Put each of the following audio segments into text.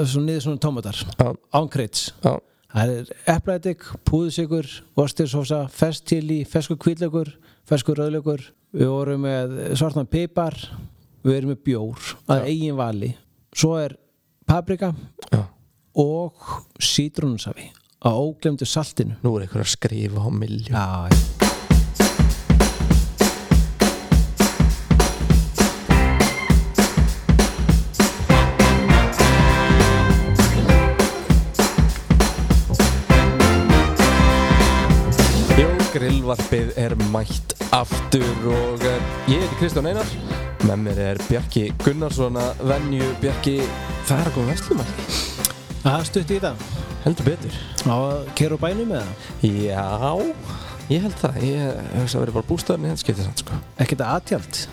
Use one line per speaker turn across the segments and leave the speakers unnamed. svo niður svona tómatar
Já.
án kreits
já,
það er eplaedik, púðusikur vorstirsósa, festtili, feskur kvíðlaugur feskur rauðlaugur við vorum með svartan pipar við erum með bjór að eigin vali svo er paprika
já
og sítrónusafi að óglemdu saltinu
Nú er einhver að skrifa á miljón
Já,
Jó, grillvarpið er mætt aftur og eh, ég heiti Kristján Einar með mér er Bjarki Gunnarsson að venju Bjarki það er að koma vestlumæl
það er stutt í það
heldur betur
á að kera úr bænum með það
Já, ég held það ég hef það verið bara bústæðan í henskipti sann sko
ekkert aðtjald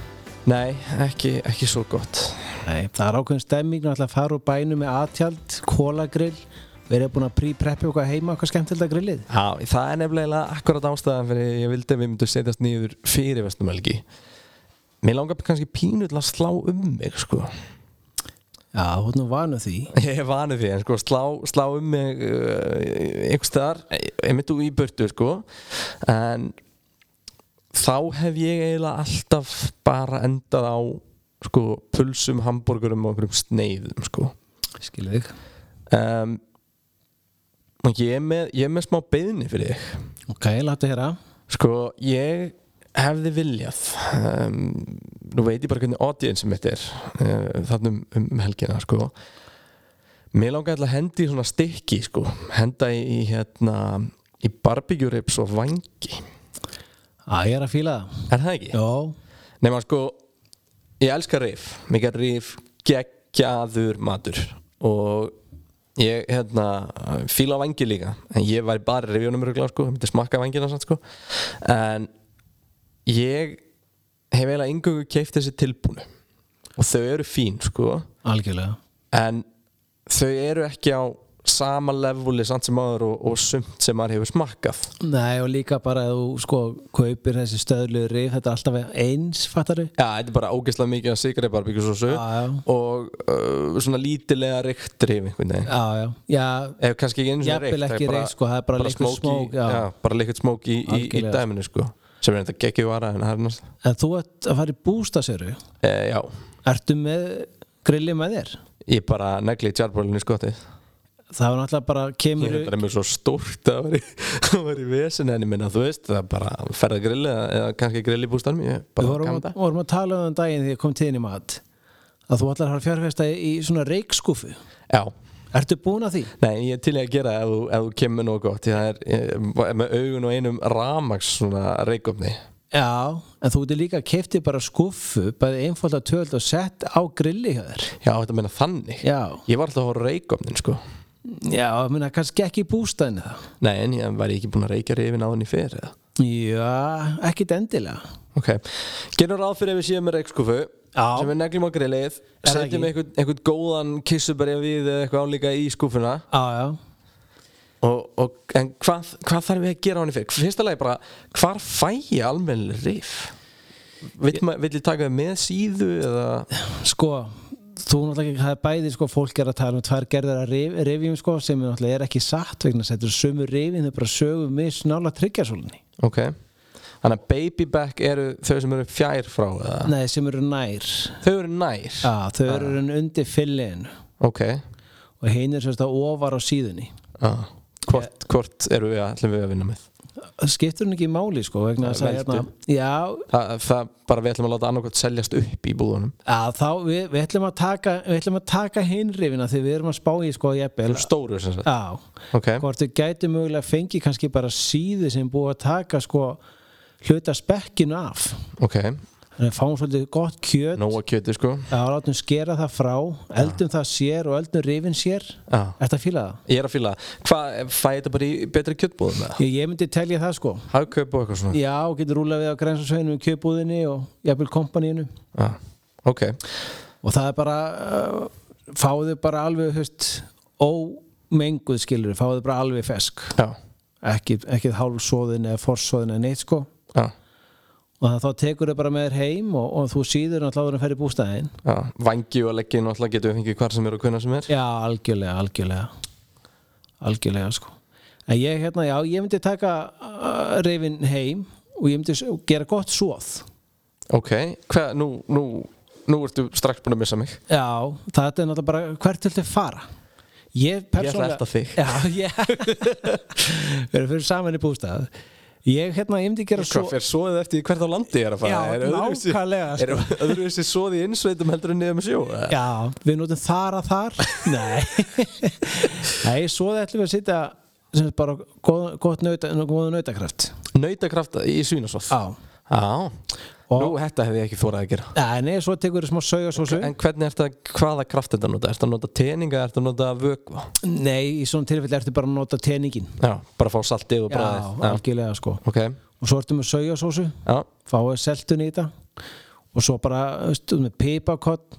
Nei, ekki, ekki svo gott
Nei, það er ákveðin stemming náttúrulega að fara úr bænum með aðtjald, kólagrill við erum búin að prípreppi okkar heima okkar skemmtilega grillið
Já, það er nefnilega akkurat ástæðan fyrir ég vildi að við myndum setjast niður fyrir vestlumælgi Mér langar kannski pínu til að slá um mig sko
Já, þú ert nú vanu því
Ég er vanið því, en sko slá, slá um mig uh, einhvers staðar, ég myndi úr í burtu sko en þá hef ég eiginlega alltaf bara endað á sko pulsum, hambúrgurum og einhverjum sneiðum sko
Skilu þig
um, og ég er með, ég er með smá beðni fyrir þig
Ok, láttu hérna
Sko, ég hefði viljað um, Nú veit ég bara hvernig audience mitt er uh, Þannig um, um- um helgina, sko Mér langaði til að hendi í svona stykki, sko Henda í, í hérna Í barbecue ribs og vangi
Æ, ég er að fíla það
Er það ekki?
Jó,
Nei, maður sko Ég elska rif Mér er rif geggjaður matur Og ég, hérna Fíla vangi líka En ég væri bara rifjónum röglega, sko Ég myndi smakka vangina samt, sko En ég hef eiginlega yngungu keift þessi tilbúinu og þau eru fín sko
algjörlega
en þau eru ekki á sama levuli samt sem aður og, og sumt sem maður hefur smakkað
Nei, og líka bara að þú sko kaupir þessi stöðlu rif þetta er alltaf eins, fattari
Já, þetta er bara ógeðslega mikið að sigri barbíkusósu
Já, já,
og uh, svona lítilega reykt rif einhvern veginn
já, já, já
Ef kannski ekki einu svona
Jafnvel
reykt það er
ekki reykt, sko, það er bara liquid
smoky-
smoke, já.
já. bara liquid smoke í, í, í
Algjörlega, sko.
dæminu sko sem er þetta geggið vara en það er náttúrulega
En þú ert að fara í bústasöru
e, Já,
Ertu með grillið með þér?
ég bara negli í sko, tjárbrólinu skotið
Það var náttúrulega bara
Ég
kemur
er bara með svo stórt að vera í, að vera í vesen en ég minna, þú veist, það er bara að ferða grill eða, eða kannski grill í bústanum, ég
Við
bara
vorum,
kann
að-
það.
vorum að tala um þann daginn því ég kom tíðin í mat að þú ætlar að fara að fjárfesta í, í svona reikskúfu
Já,
Ertu búin að því?
nei, ég er til í að gera ef þú, ef þú kemur nóg gott, því það er ég, er með augun og einum ramags svona reikofni.
Já, en þú ert líka keftið bara skúfu bæði einfalt að töld og sett á grilli hjá þér
Já, þetta meina þannig.
Já,
Ég var alltaf að horfa reikofnin, sko.
já, ég meina kannski ekki í bústæðinu það
Nei, en ég var ekki búin að reikja rifin á henni fyrir það.
Já, ekkit endilega
Ok, gerum ráð fyrir ef við séum með reikskúfu
Já.
sem við neglum á grillið,
það
setjum
ekki?
einhvern, einhvern góðan kissuberja við eða eitthvað álíka í skúfuna
Já, já,
og, og, en hvað, hvað þarf ég að gera á henni fyrir? Fyrsta lagi bara, hvar fæ ég almennileg rif? Vill, ég... vill ég taka þau með síðu eða
sko þú náttúrulega ekki, það er bæði sko fólk er að tala um tvær gerðar að rif, rifjum sko sem náttúrulega er ekki satt vegna þess að þetta er sömu rifin þau bara sögum við snála tryggjarsólunni
Ok Þannig að baby back eru þau sem eru fjær frá eða?
Nei, sem eru nær
Þau eru nær
Já, þau eru ah. undir fyllin
Ok
og hinn er sérst að ofar á síðunni
ah. hvort, hvort eru við að, ætlum við að vinna með?
það skiptur hún ekki máli sko vegna þess að
Veldu.
hérna, já,
Það, það bara við ætlum að láta annarkvæmt seljast upp í búðunum
að þá við, við ætlum að taka við ætlum að taka hinn rifina því við erum að spá í sko jæbel,
Þeim stóru sem sagt
já,
Ok
hvort við gætum mögulega að fengi kannski bara síðu sem búið að taka sko hluta spekkinu af
Ok
þannig að fáum svolítið gott kjöt
Nóa kjöti sko
Já, látum skera það frá, eldum það sér og eldum rifin sér
Já
Þetta fíla það?
Ég er að fýla Hvað, fæ ég þetta bara í betri kjötbúðum eða?
Ég, ég myndi telja það sko
Hagkaup og eitthvað svona
Já, og getur rúlað við á grænsarsveinu í kjöpbúðinni og jafnvel kompaníinu
Já Ok
og það er bara uh, fáðu bara alveg höst ómenguð skilur fáðu bara alveg fesk
Já
ekki, ekki hálfsóðin eða forsóðin eða neitt sko
Já
og það, þá tekur þau bara með þér heim og, og þú síður náttúrulega að ferði bústæðin
Já, vangi og leggin og alltaf getum við fengið hvar sem er og hvernig sem er
Já, algjörlega, algjörlega algjörlega sko en ég hérna, já, ég myndi taka uh, reyfin heim og ég myndi s- gera gott svoð
Ok, hvað, nú, nú, nú ertu strax búin að missa mig
Já, þetta er náttúrulega bara hvert viltu fara Ég persónulega
elta þig.
Já, ég Við erum fyrir saman í bústað Ég hérna, ég myndi gera svo
Hvað fer svoðið eftir því hvert á landi ég er að fara?
Já,
er öðruvísi-
nákvæmlega, sko.
Er öðruvísi svoðið í innsveitum heldur en niður með sjó? eða?
Já, við notum þar að þar Nei Nei, svo það ætlum við að sitja sem sagt bara góð, gott nauta, góða nautakraft
Eh, Nautakraft í Svínasóð
Já
Já,
Og-
nú þetta hefði ég ekki þórað að gera
Nei, nei, svo tekur við smá saugasósu
En hvernig ertu að, hvaða kraft þetta nota? Ertu að nota teninga, ertu að nota vökva?
Nei, í svona tilfelli ertu bara að nota teningin
Já, bara fá saltið og
Já,
bræðið
algjörlega sko
Ok,
Og svo ertu með saugasósu
já,
fáið seltun í þetta og svo bara veist, með pipakott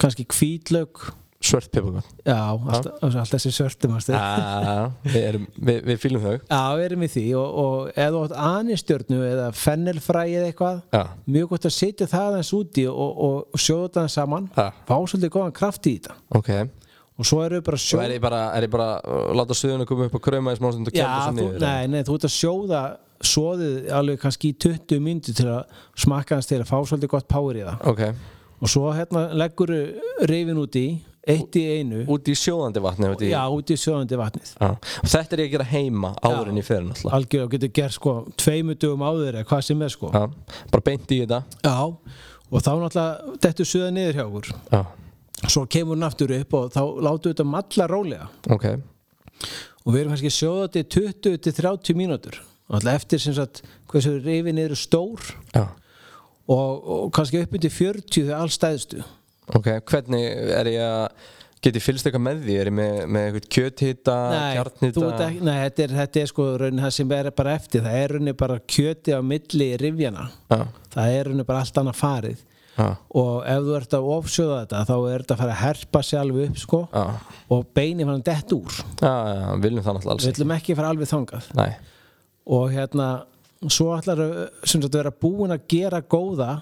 kannski hvítlaug
svört pipakon
já, allt, allt þessi svörtum já.
Já, við, erum- við, við fýlum þau
já, við erum í því og, og eða þú átt anistjörnu eða fennelfræi eða eitthvað
Já,
mjög gott að setja það aðeins úti og, og, og sjóða það aðeins saman
Já.
fá svolítið góðan kraft í þetta
ok
og svo eru við bara að
Svo
sjóða
er ég bara, er ég bara að láta suðuna koma upp og krauma í smástund og
já,
kemur svo
þú,
niður
nei, nei, þú ert að sjóða svoðið alveg kannski í 20 myndi til að smakka hans til að fá svolítið gott power í það
Ok,
og svo hérna leggur reyfin úti eitt í einu
út í sjóðandi vatni út í...
Já, út í sjóðandi vatnið
Já. Og Þetta er ég að gera heima áður en ég fer náttúrulega
Algjörlega getur gert sko tveimu dögum áður eða hvað sem er sko
Já, bara beint í þetta
Já Og þá náttúrulega dettur suða niður hjá okkur
Já,
Svo kemur hún aftur upp og þá látum við þetta malla rólega
ok
Og við erum kannski sjóðandi 20 til 30 mínútur Náttúrulega eftir sem sagt hversu reyfin eru stór
Já,
og, og kannski upp undir 40 þegar alls stæðstu
ok, hvernig er ég að get ég fylgst eitthvað með því, er ég með, með eitthvað kjöthita,
þú
kjarnhita
ert ekki, nei Ah, þetta, er, þetta er sko raunin það sem er bara eftir Það er raunin bara kjöti á milli rifjana
Já,
Það er raunin bara allt annað farið
já,
og ef þú ert að ofsjóða þetta þá er þetta að fara að herpa sig alveg upp sko,
já,
og beinir fara að detta úr
já, já, viljum það náttúrulega alls
við ætlum ekki að fara alveg þangað
ekki. Nei,
og hérna, svo ætlar sem sagt að vera búin að gera góða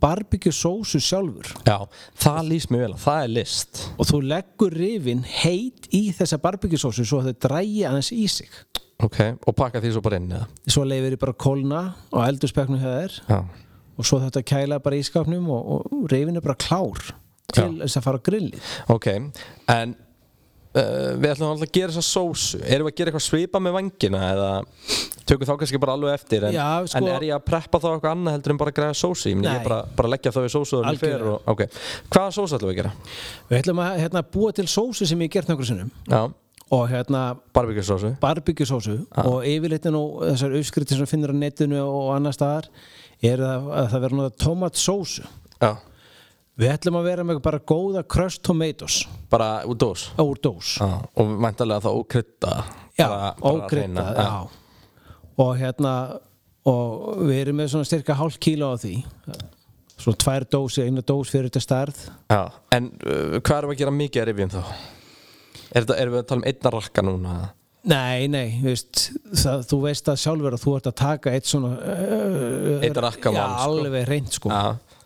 barbecue sósu sjálfur
já, það lýst mjög vel að það er list
og þú leggur rifin heit í þessa barbecue sósu svo að þau drægi aðeins í sig
Ok, og pakka því svo bara inn eða
svo leifir þið bara að kólna og eldurspeknum hjá þér
Já,
og svo þetta kæla bara í skapnum og, og rifin er bara klár til þess að fara á grillið
ok, en uh, við ætlum alltaf að gera þessa sósu Erum við að gera eitthvað svipa með vangina eða tökum þá kannski bara alveg eftir en,
Já, sko-
en er ég að preppa þá eitthvað annað heldur en bara að græða sósu? Ég meni ég
Nei.
er bara, bara að leggja þá í sósu og
Algjörlega.
fyrir og ok Hvaða sósu ætlum við að gera?
við ætlum að hérna, búa til sósu sem ég hef gert nokkur sinnum
Já,
og hérna
barbecue sósu
barbyggjusósu
Ah.
og yfirleitt er nú þessar uppskriti sem þú finnir á netinu og annar staðar er að, að það verður náttúrulega tomatsósu
Já,
við ætlum að vera með bara góða crushed tomatoes
bara úr dós
úr dós
Já, og væntalega þá ókrydda
já,
Ah, Bara- ah. bara
ókrydda
hreina.
já. og hérna og við erum með svona styrka hálf kíló á því svona tvær dósi, eina dós fyrir þetta starð
Já, en uh, hvað erum við að gera mikið að rifjum þá? Er þetta, erum við að tala um einna rakka núna?
nei, nei, þú veist, það, þú veist það sjálfur að þú ert að taka eitt svona uh,
Einn rakka
já,
mann, sko.
alveg reynd sko
Já.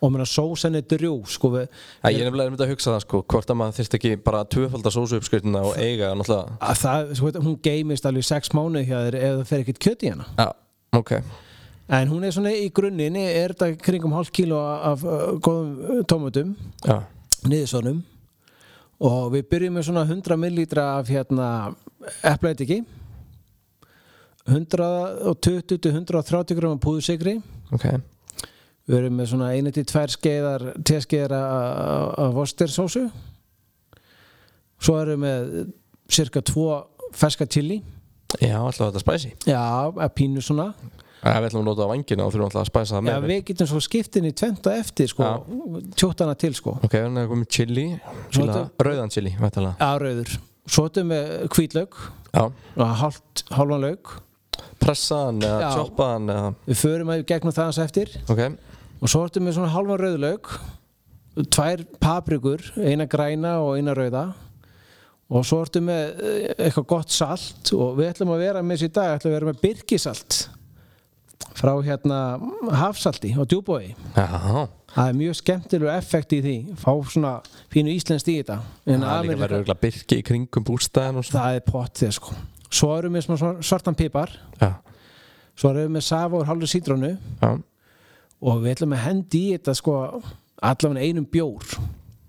og meina sósan er drjú sko við
Já, ég er nefnilega einmitt að hugsa það sko, hvort að maður þyrst ekki bara tvöfaldar sósu uppskriftina og eiga náttúrulega.
að það, sko, hún geymist alveg sex mánuði hjá þér ef það fer ekkert kjöt í hana
Já, ok.
en hún er svona í grunninni er þetta kringum hálf kíló af uh, góðum uh, tómatum
Já,
niðursonum og við byrjum með svona 100 millilítra af hérna eplætiki 120-130 gráma púðusikri
ok.
við erum með svona 1-2 skeiðar teskeiðar af- af vostersósu svo erum við með cirka 2 ferska chili
Já, alltaf þetta spæsi.
Já, að pínu svona
Já, við ætlum að nota á vangina og þurfum alltaf að spæsa það
Já,
með.
við getum svo skiptin í tventa eftir sko, tjóttana til sko
Ok, þannig að komið chili, chila, rauðan chili, væntalega.
aðröður, svo erum við hvítlaug
Já,
og hálft, hálfan laug
pressaðan eða
Já.
choppaðan eða,
við förum að gegnum það hans eftir
ok.
og svo erum við svona hálfan rauðlaug tvær paprikur, eina græna og eina rauða og svo eh, erum við eitthvað gott salt og við ætlum að vera með þessi í dag ætlum við að vera með birkisalt frá hérna hafsalti á djúbói
Já,
það er mjög skemmtilegur effekt í því fá svona fínu íslenskt í þetta en
það er líka verið
Ameríka,
örgulega byrki í kringum bústæðan og svona
það er pott þér sko svo erum við smá svor- svartan pipar
Já,
svo erum við með safa úr hálfur sítrónu
já,
og við ætlum að hendi í þetta sko allavega einum bjór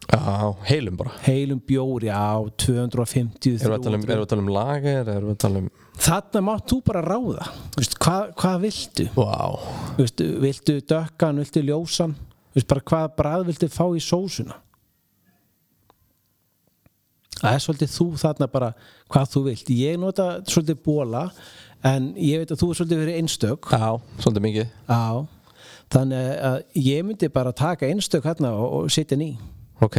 já, heilum bara
heilum bjór, já, 250
Erum við að tala
300.
um, erum við að tala um lager, erum við að tala um
þarna mátt þú bara ráða Þú veist, hvað, hvað viltu?
Vá,
Þú veist, viltu dökkan, viltu ljósan Þú veist, bara hvað brað viltu fá í sósuna það er svolítið þú þarna bara hvað þú vilt ég nota svolítið bóla en ég veit að þú er svolítið verið einstök
já, svolítið mikið
á, þannig að ég myndi bara taka einstök hérna og, og sitja ný
Ok,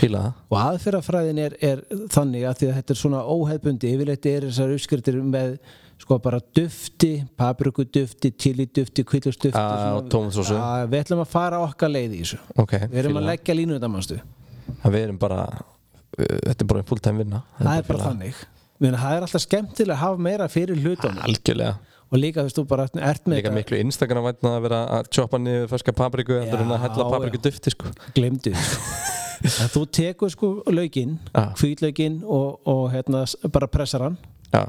fíla það
og aðferðafræðin er, er þannig að því að þetta er svona óhefbundi yfirleitt er þessar uppskriftir með sko bara dufti, paprikudufti tilidufti, kvillustufti
Ah, og tómatsósu.
við ætlum að fara okkar leið í þessu
Ok,
við erum
fíla
að leggja línu þetta mannstu
það Við erum bara, uh, þetta er bara einn fulltime vinna
það er bara þannig Meni, það er alltaf skemmtilega að hafa meira fyrir hlutunum
Algjörlega
og líka þú veist þú bara ert með
Ah. Líka
þetta,
miklu Instagram vætna að vera að choppa niður ferska papriku heldur en að hella
Já,
papriku dufti sko
glemdu að þú tekur sko laukinn
Já.
hvítlaukinn og, og hérna, s- bara pressar hann
Já,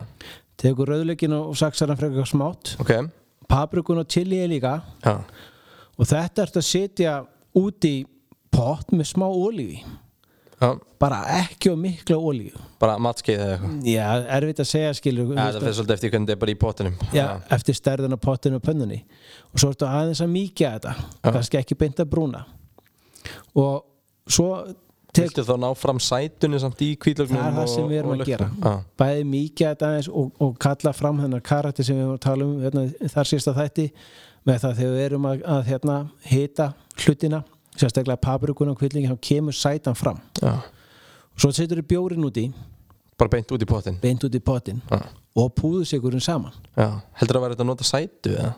tekur rauðlaukinn og og saxar hann frekar smátt
ok
paprikun og chili er líka
Já,
og þetta ertu að setja út í pott með smá olíu í.
já,
bara ekki og mikla olíu
bara matskeið eða eitthvað
já, erfitt að segja skilur
Já, Það fyrir svolítið eftir hvernig þetta er bara í potinum
já, eftir stærðan á pottinu og pönnunni og svo ertu aðeins að mýkja þetta kannski ekki beint að brúna og svo tek,
Viltu þá ná fram sætunni samt í kvítlögnum
það er það sem við erum að gera
Já,
bæði mýkja þetta aðeins og, og kalla fram hennar karakter sem við erum að tala um hérna, þar sísta þætti með það þegar við erum að, að hérna, hita hlutina sérstaklega paprikuna og kvillingin þá kemur sætan fram
já
svo setur við bjórin út í
Bara beint út í potin
beint út í potin
Já,
og púðusikurinn saman
já Heldur að vera þetta að nota sætu eða?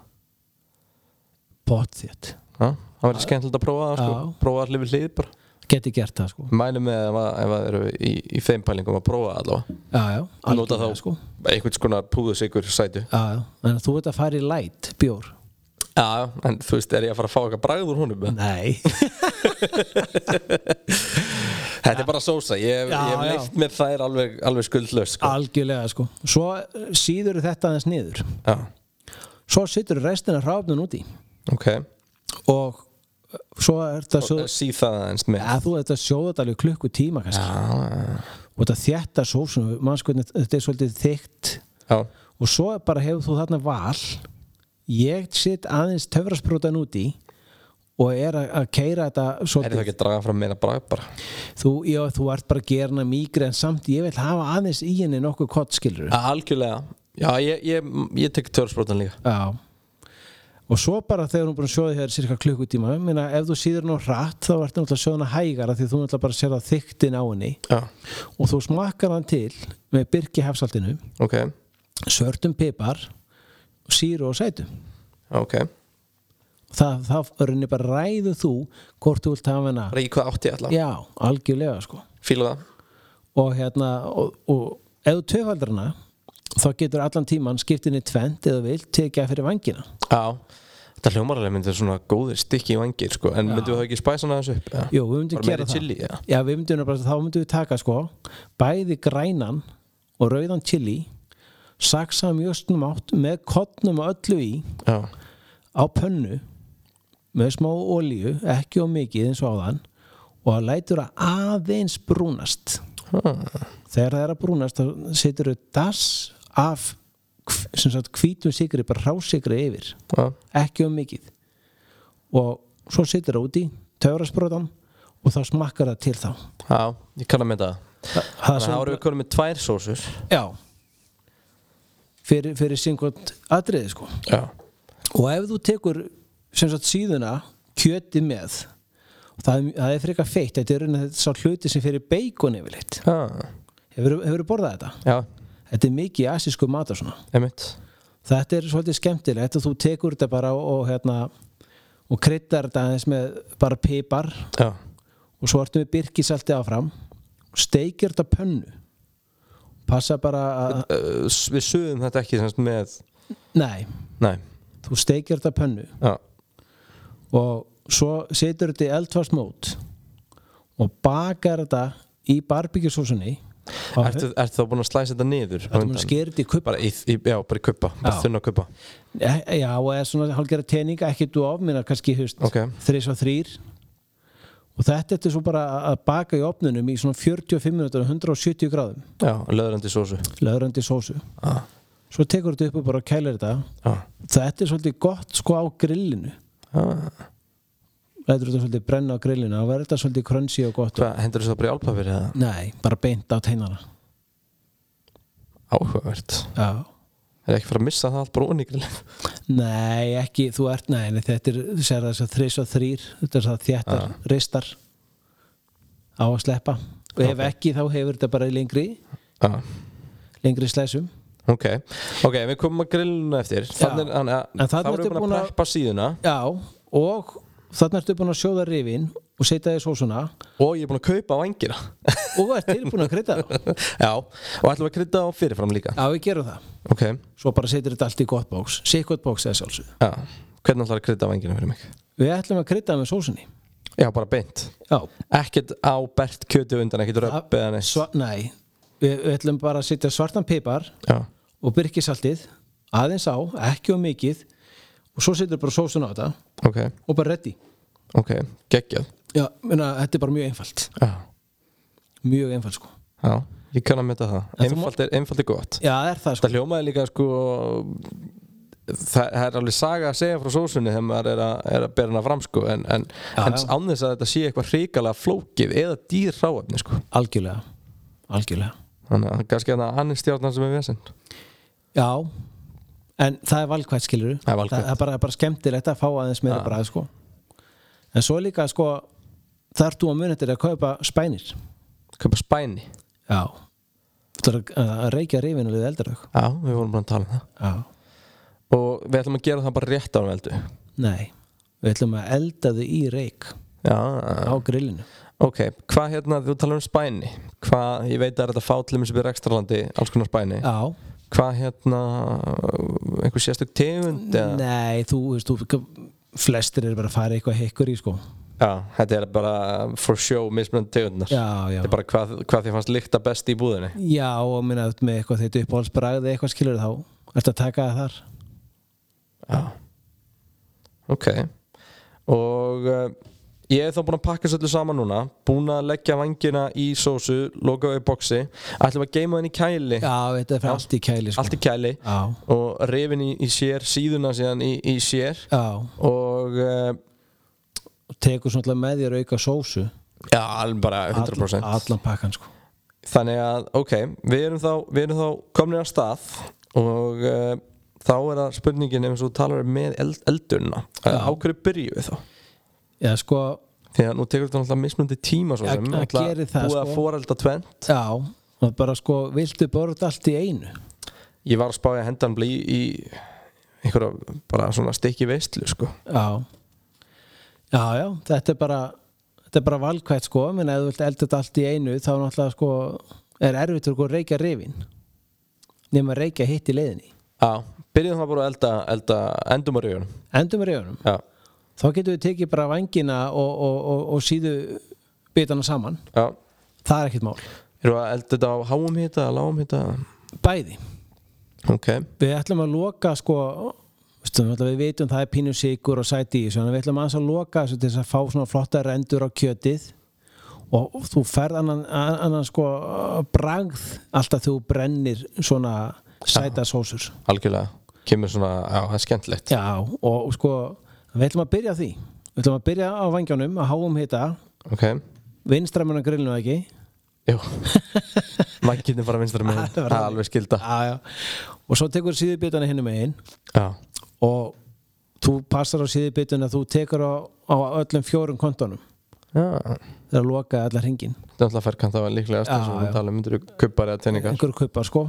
pott þétt,
Já, það verður skemmtilegt að prófa það sko
Já.
Prófa allir við hlið bara
geti gert það sko
Mælum með ef að- ef að eru í, í þeim pælingum að prófa það allavega
já, já,
Nota
algjörlega, sko.
þá einhvers konar púðusikur sætu
já, já, en þú ert að fara í light bjór
Já, en þú veist, er ég að fara að fá eitthvað bragð úr honum? eða?
nei,
Þetta er bara sósa,
Já,
ég, ég hef
já.
leikt mér þær alveg, alveg skuldlaus sko.
algjörlega sko svo síður þetta aðeins niður
Já,
svo setur restina hráfnun út í
ok Eh,
og uh, svo er þetta svo
Sýð það aðeins með
að þú ert að sjóða þetta alveg klukku tíma kannski
Já,
og þetta þjætta sósuna, mannskvöldin þetta er svolítið þykkt
já,
og svo er bara hefur þú þarna val ég sitt aðeins töfrasprótan út í og er að, að keira þetta
er það
svolítið
ekki að draga fram meira bragð bara
þú, já, þú ert bara að gera hana mýgri en samt ég vil hafa aðeins í henni nokkuð kott skilur
Já, algjörlega Já, ég, ég, ég tek törsprótan líka
já og svo bara þegar hún er búin að sjóða þér cirka klukkutíma, minna ef þú síður nú hratt þá ertu náttúrulega að sjóða hana hægara því þú náttúrulega bara sér að þyktin á henni
Já,
og þú smakkar hann til með byrki hafsaltinu,
ok,
svörtum pipar síru og sætu
ok Bara
það, það rauninni bara ræðu þú hvort þú vilt hafa hana
í hvað átti ég alltaf
já, algjörlega sko
Fíla það
og hérna, og, og ef þú töfaldar hana þá getur allan tíman skiptinni tvent eða vilt tekja fyrir vangina
Já Þetta hljómarlega myndir svona góðir stykki í vangir sko En myndum við það ekki spæsa hana þessu upp? eða?
Jú, við myndum
Bara meiri
gera það
chili, já.
Já, við myndum bara, þá myndum við taka sko bæði grænan og rauðan chili saksa mjög snumátt með kottnum og öllu í
Já,
á pönnu með smá olíu, ekki og mikið eins og áðan og það lætur að aðeins brúnast þegar það er að brúnast þá setur þau das af hv- sem sagt hvítum sigri, bara rásigri yfir
já,
ekki og mikið og svo setur það úti töfrasprótan og þá smakkar það til þá
já, ég kann að mynda það
Þa, það er
Þannig að það
svona,
voru við konum með tvær sósur
já fyrir, fyrir syngvöld atriði sko
Já
og ef þú tekur sem sagt síðuna kjöti með það, er- það er frekar feitt þetta er raunin sá hluti sem fyrir beikon yfirleitt hefur, hefur borðað þetta
Ah. Já,
þetta er mikið í asísku matar svona
einmitt
þetta er svolítið skemmtilegt og þú tekur þetta bara og, og hérna og kryddar þetta aðeins með bara pipar
Já,
og svo ertu með birkisalti áfram og steikir þetta á pönnu passa bara að
uh, s- við suðum þetta ekki semst með
nei,
Nei,
þú steikir þetta á pönnu
já,
og svo setur þetta í eldfast mót og bakar þetta í barbíkjusósunni
ertu, ertu þá búin að slæsa þetta niður á
Þetta
undan?
mun skerði þetta í kupp
bara í, í, já, bara í kuppa, bara
Já.
þunna kuppa
E- Já, og eða svona hálfgerða teininga ekki þú ofminar kannski, þú veist,
Ok.
þrís og þrýr og þetta er svo bara að baka í ofnunum í svona 45 minútur og 170 gráðum,
já, löðrandi sósu
löðrandi sósu
já,
svo tekur þetta upp og bara kælir þetta
já,
þetta er svolítið gott sko á grillinu
já.
lætur þetta svolítið brenna á grillinu þá verður þetta svolítið crunchy og gott
hvað, hendur þessu það bara í álpapir eða
Nei, bara beint á teinana
áhugavert,
Já
er ekki fara að missa það allt bara onni grill
Nei, ekki, þú ert, nei, nei þetta er, þú sér þess að þrís og þrýr, þetta er það þjættar, ristar á að sleppa og ef
Ok.
ekki þá hefur þetta bara í lengri,
já,
lengri slæsum
ok, ok, við komum að grillinu eftir þannig, þannig
En
að
þarna
þá erum
ertu
við búin
búin
að
að-
preppa síðuna
Já, og þarna ertu búin að sjóða rifin og setja því sósuna
og ég er búin að kaupa vangina
og ert tilbúin að krydda þá
já, og ætlum að krydda á fyrirfram líka
Já, við gerum það,
ok,
svo bara setjum þetta allt í gott bóks sikkot bóks eða sjálfsög
já, hvernig ætlar að krydda á vangina fyrir mig
Við ætlum að krydda með sósunni
já, bara beint,
Já,
ekkert á bert kjöti á undan, ekkert röpp eða neitt
sva, nei við, við ætlum bara að setja svartan pipar
já,
og byrkisaltið aðeins á, ekki og mikið og svo setur bara sósun á þetta
ok,
og bara ready
ok, geggjað
Já, menna, þetta er bara mjög einfalt
já,
mjög einfalt sko
já, ég kann að metta það
En þú
einfalt er, einfalt er gott
Já, það er það sko
það hljómaði líka sko það það er alveg saga að segja frá sósunni þegar maður er að, er að bera hana fram sko en, en,
Já,
en
já.
án þess að þetta sé eitthvað hrikalega flókið eða dýr ráefni sko
Algjörlega, algjörlega
þannig að kannski að hann er stjórnar sem er vesend
Já, en það er valkvætt skilur
Það er valkvætt.
það er bara, bara skemmtilegt að fá aðeins meira
Já.
bræð sko En svo líka sko þar þú að muni þetta að kaupa spænir
kaupa spæni
Já Það er að reykja rifinu við eldarög
já, við vorum bara að tala um það
Já
og við ætlum að gera það bara rétt á veldu
Nei, við ætlum að elda þau í reik
já,
á grillinu
ok, hvað hérna þú talar um spæni hvað, ég veit að þetta fátlum sem er ekstralandi, alls konar spæni
Já,
hvað hérna einhver sérstök tegund eða?
nei, þú veist þú, flestir eru bara að fara eitthvað hekkur í sko
Já, þetta er bara for show mismunandi tegundnar
Já, já
Þetta er bara hvað, hvað þið fannst líkta best í búðinni
Já, og minna með eitthvað þetta uppáhaldsbragð eða eitthvað skilur þá ertu að taka það þar
Já Ok Og uh, ég er þá búinn að pakka þessu öllu saman núna Búinn að leggja vangina í sósu Loka í boxi Ætlum að geima henni í kæli
Já, þetta er fyrir allt í kæli sko.
Allt í kæli
Já,
Og rifin í, í sér, síðuna síðan í, í sér
já,
Og uh,
og tekur svona með þér auka sósu
Já, alveg bara 100%
All- Allan pakkan sko
Þannig að, ok, við erum þá, við erum þá komnir að stað og uh, þá er það spurningin eins og þú talar um með eld, eldurna uh, á hverju byrjum við þá?
Já, sko,
Því að nú tekur þetta náttúrulega mismunandi tíma svo
Ja,
sem
að
náttúrulega
gera það,
Búið að
sko.
forelda tvennt
já og bara sko, viltu borða allt í einu
Ég var að spá ég að hendan blí í einhverja bara svona stikki veistlu sko
Já Já, já, þetta er bara þetta er bara valkvætt sko, menn ef þú vilt elda þetta allt í einu þá náttúrulega sko er erfitt að sko reykja rifin nema að reykja hitt í leiðinni
Já, byrjum það bara að elda, elda endum á raugunum
Endum rifunum,
Já,
þá getum við tekið bara vangina og, og, og, og síðu bitana saman,
já
það er ekkert mál
Eru að elda þetta á háum hita, lágum hita
Bæði
Ok,
Við ætlum að loka sko veistu, náttúrulega við vitum það er pínu sigur og sæti í þessu, en við ætlum aðeins að loka þessu til þess að fá svona flotta rendur á kjötið og þú ferð annan, annan sko bragð alltaf þú brennir svona sæta sósur
algjörlega Kemur svona, já, það er skemmtilegt
Já, og sko við ætlum að byrja á því við ætlum að byrja á vangjónum, að háum hita
Ok,
vinstramun á grillinu eða ekki
Jú Mækkinni bara vinstra með
Það
Það
var
er alveg skilda
já, já. og svo tekur síðubitana hinn um einn
Já,
og þú passar á síðubituna þú tekur á, á öllum fjórum kontónum
já Það
þegar að loka allar hringin
er alltaf færkant Það var líklega
Já,
Það sem
já.
við tala um Myndir þú kuppar eða teiningar
einhverju kaupar sko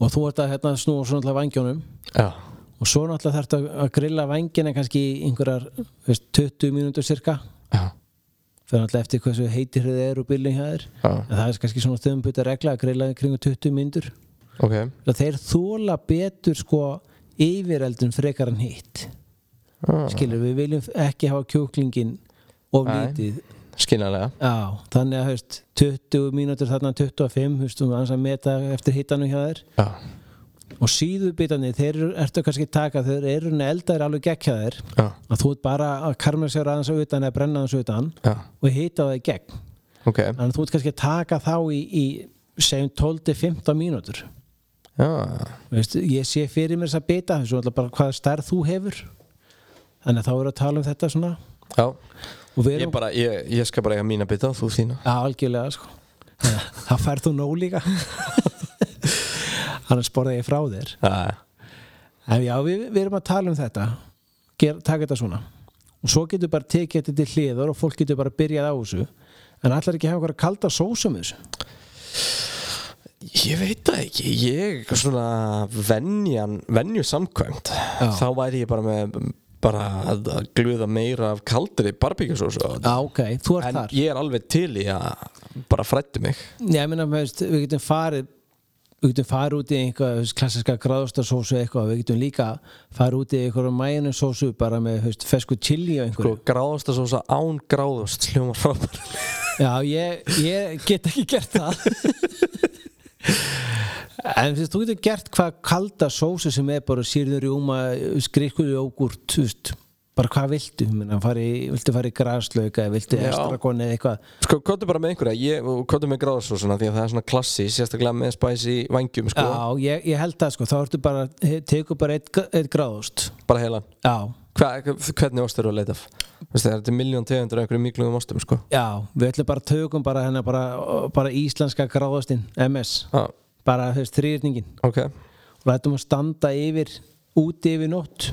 og þú ert að hérna, snúa svona alltaf vangjónum
Já,
og svo náttúrulega þarf að grilla vangina kannski í einhverjar þú veist, 20 mínútur cirka
já,
fyrir náttúrulega eftir hversu heitir þið er og bylling hæðir
já
en það er kannski svona þömbut regla að grilla í kringum 20 mínútur
Ok,
þeir þóla betur sko yfireldun frekar en hitt skilur við viljum ekki hafa kjúklingin of
Ah. Nei.
lítið
skiljanlega
Já, þannig að haust 20 mínútur þarna 25 hustum að meta eftir hittanum hjá þér
já.
og síðubitarnir, þeir eru, ertu kannski að taka þeir eru eldaðir alveg gegn hjá þér
Já.
að þú ert bara að karma sér aðeins að utan eða brenna aðeins utan
Já.
og hita það í gegn
ok
þannig að þú ert kannski að taka þá í, í segjum 12-15 mínútur
já.
Veist, ég sé fyrir mér þess að bita þessu alltaf bara hvað stærð þú hefur þannig að þá eru að tala um þetta svona
já
og við
ég
erum
bara ég, ég skal bara eiga mína bita og þú þína
Já, algjörlega sko Það færð þú nóg líka Annars borða ég frá þér
já
En já, við, við erum að tala um þetta Ger, Taka þetta svona Og svo getur bara tekið þetta til hliðar og fólk getur bara byrjað á þessu En allar ekki að hafa einhverja kalda sósum þessu
Ég veit það ekki, ég svona venjan, venju samkvæmt þá væri ég bara með bara að að gluða meira af kaldri barbíkjusósu á þetta.
Já, ok, þú ert
en
þar
ég er alveg til í að bara frætti mig
Nei, ég meina, þú veist, við getum farið við getum farið út í einhvað þú veist, klassiska gráðastasósu eitthvað við getum líka farið út í einhverja mæjunusósu bara með þú veist, fesku chili og einhverju
sko, gráðasta sósa án gráðast hljóma frábæri
Já, ég, ég get ekki gert það En þess, þú getur gert hvað kalda sósu sem er bara sýrður rjúma, skrikuðu jógurt þú veist, bara hvað viltu minna, fari, viltu fara í graslauka viltu
Já.
estrakon eða eitthvað
Sko, kóttu bara með einhverja, ég, og kóttu með gráðasósuna því að það er svona klassi, sérstaklega með spæsi vangjum, sko,
Já, ég, ég held það sko, þá ertu bara tegur bara eitt, eitt gráðust
bara heilan
Já,
Hva, Hvernig ost eru að leita af? Veistu, það er þetta miljón tegundur af einhverjum mýglugum ostum, sko
já, við ætlum bara tökum bara hennar bara, bara íslenska gráðustinn, MS
ah,
bara þess þrýrningin
Ok,
og lætum að standa yfir úti yfir nótt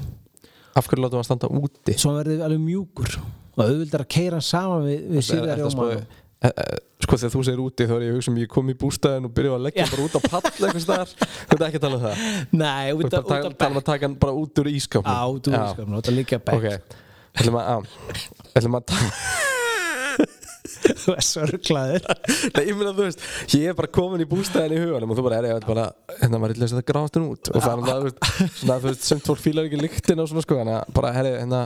af hverju látum við að standa úti?
svo hann verði alveg mjúkur og auðvildar að keira hann saman við, við
Er-
sýrðar
er það
rjóma
sko- e- e- Sko þegar þú segir úti þá er ég að hugsa um ég kom í bústæðin og byrjaði að leggja hann bara út á pall eitthvað staðar Þú ert ekki að tala um það
nei,
Þú
út
ert
af
bara að tala um að taka hann bara út úr ískápnum
á, þú veist sko, nota líka
Ok,
bæk
ætlum að á, ætlum að tala
þú er sorglaður
Nei, ég meina þú veist, ég er bara komin í bústæðin í huganum og þú bara er ég bara, hérna maður er illa að setja gráðastun út og það er alveg, þú veist, svona, þú veist, semt fólk fílar ekki lyktin og svona sko, þannig að bara, herri, hérna,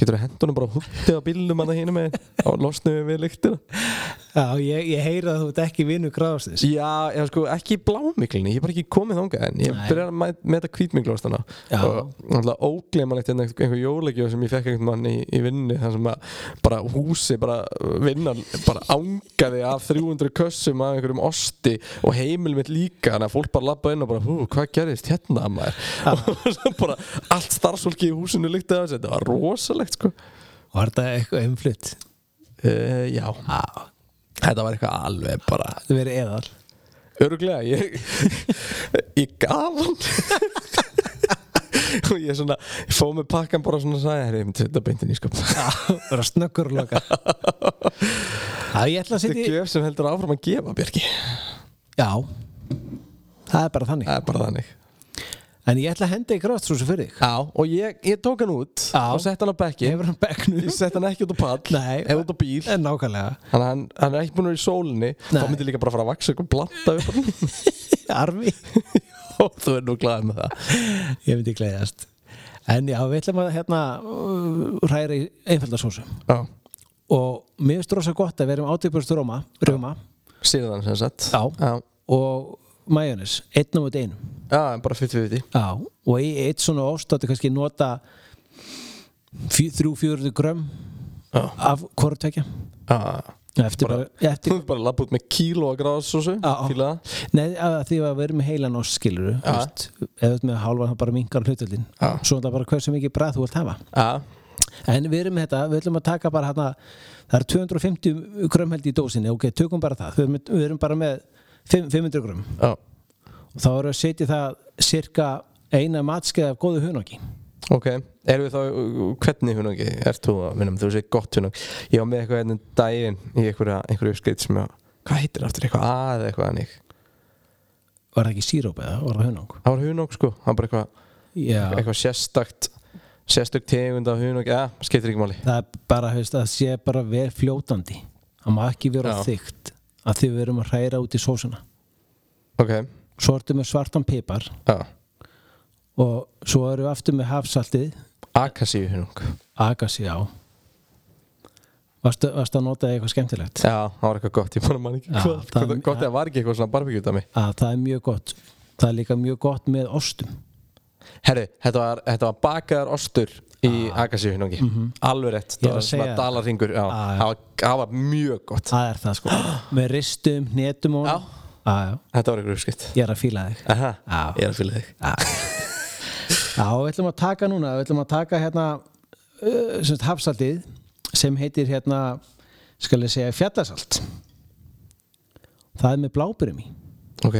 getur þú hendunum bara húttið á bílnum hann að hýna með og losnum við við lyktina?
já, ég, ég heyra að þú ert ekki vinnu gráðsins
Já, já sko, ekki í blámiklinni, ég er bara ekki komið þangað en ég
Nei.
byrjar að mæ- meta hvítmiklóstana
Já.
og náttúrulega óglemanlegt einhver, einhver jólagjöf sem ég fekk einhvern mann í, í vinnu þar sem að bara húsi bara vinnan bara angaði af 300 kössum af einhverjum osti og heimil mitt líka þannig að fólk bara labba inn og bara hú, hvað gerðist hérna maður og svo bara allt starfsfólki í húsinu líkti af þessu, þetta var rosalegt sko
var þetta eitthvað umflutt
uh, Já, þetta var eitthvað alveg bara
það verið eðal
Öruglega, ég, ég gaf hann og ég svona, ég fóð með pakkan bara svona og sagði, herri, ég myndi þetta beintin í skap Þetta
vera snöggur og loka já, ég ætla að
er
setja í-
gjöf sem heldur áfram að gefa, Björki
já, það er bara þannig
Það er bara þannig
en ég ætla að henda í gráðsrúsu fyrir þig
Já, og ég, ég tók hann út
Já.
og sett hann á bekki
hefur hann bekknu
Ég sett hann ekki út á pall,
Nei.
eða út á bíl
nákvæmlega,
Þannig að hann, hann er ekki búin að vera í sólinni
Nei.
Þá myndi líka bara fara að vaksa eitthvað blanta upp á hann.
arfi
Og þú er nú glæðið með það
ég myndi gleyðast en já, við ætlum að hérna uh, hræra í einfaldarsósu
Já,
og mér finnst rosa gott að við erum átökbjörnstur róma, rjóma
síðan sem sagt
Já.
Já,
og majónis, einn á mútið einum
Já bara 50-50
já, og í eitt svona ost áttu kannski nota fjö- þrjú, fjörðu grömm
Já.
af hvort tvekja
Já
eftir bara, bara
Þú
eftir,
ert bara að labba út með kíló að gráðsósu
Já, já.
Fýla það
nei, að því að við erum með heilan ost skilur
Já.
eða þú ert með hálfa þá bara minkar hlutöldin
Já.
svo er það bara hversu mikið bræð þú vilt hafa
Já,
En við erum með þetta, við ætlum að taka bara hérna, það er 250 grömm held í dósinni, ok, tökum bara það, við erum, við erum bara með fimm- 500 grömm
já,
og þá erum við að setja í það cirka eina matskeið af góðu hunoki.
ok Erum við þá, hvernig hunangi ert þú að vinna með? Þú segir gott hunang Ég var með eitthvað ennum daginn í einhverja, einhverju skrið sem ég Hvað heitir aftur, eitthvað að eða eitthvað þannig
Var það ekki síróp eða, var það hunong?
Það var hunang sko, það var bara eitthvað,
Já,
eitthvað sérstakt Sérstök tegund af hunang, já, skiptir ekki máli
það er bara, hefst, það sé bara vel fljótandi, það má ekki vera
Já.
þykkt að því við erum að hræra út í sósuna.
Ok,
Svo ertu með svartan pipar
já,
og svo erum við aftur með hafsaltið
Akasíu hunung
Agassi á Varstu, varstu að nota eitthvað skemmtilegt?
Já, það var eitthvað gott, ég bara man ekki
Já,
hvað
það-
hvað- Gott eða var ekki eitthvað svona barbecue dæmi
Að það er mjög gott Það er líka mjög gott með ostum
Herru, þetta var, þetta var bakaðar ostur í Akasíu hunungi Alveg rétt,
Ég er
það
að
var svona
segja það.
dalarringur Ah, Já,
Já, já.
það var, það var mjög gott
Það er það sko Með ristum, hnetum og
Já.
Á, já.
Þetta var eitthvað uppskipt
Ég er að fíla þig
Aha,
Já.
Ah. ég er að fylga þig
Já, við ætlum að taka núna Við ætlum að taka hérna uh, sem hafsaldið sem heitir hérna skal ég segja fjallasalt Það er með blábyrjum í
Ok,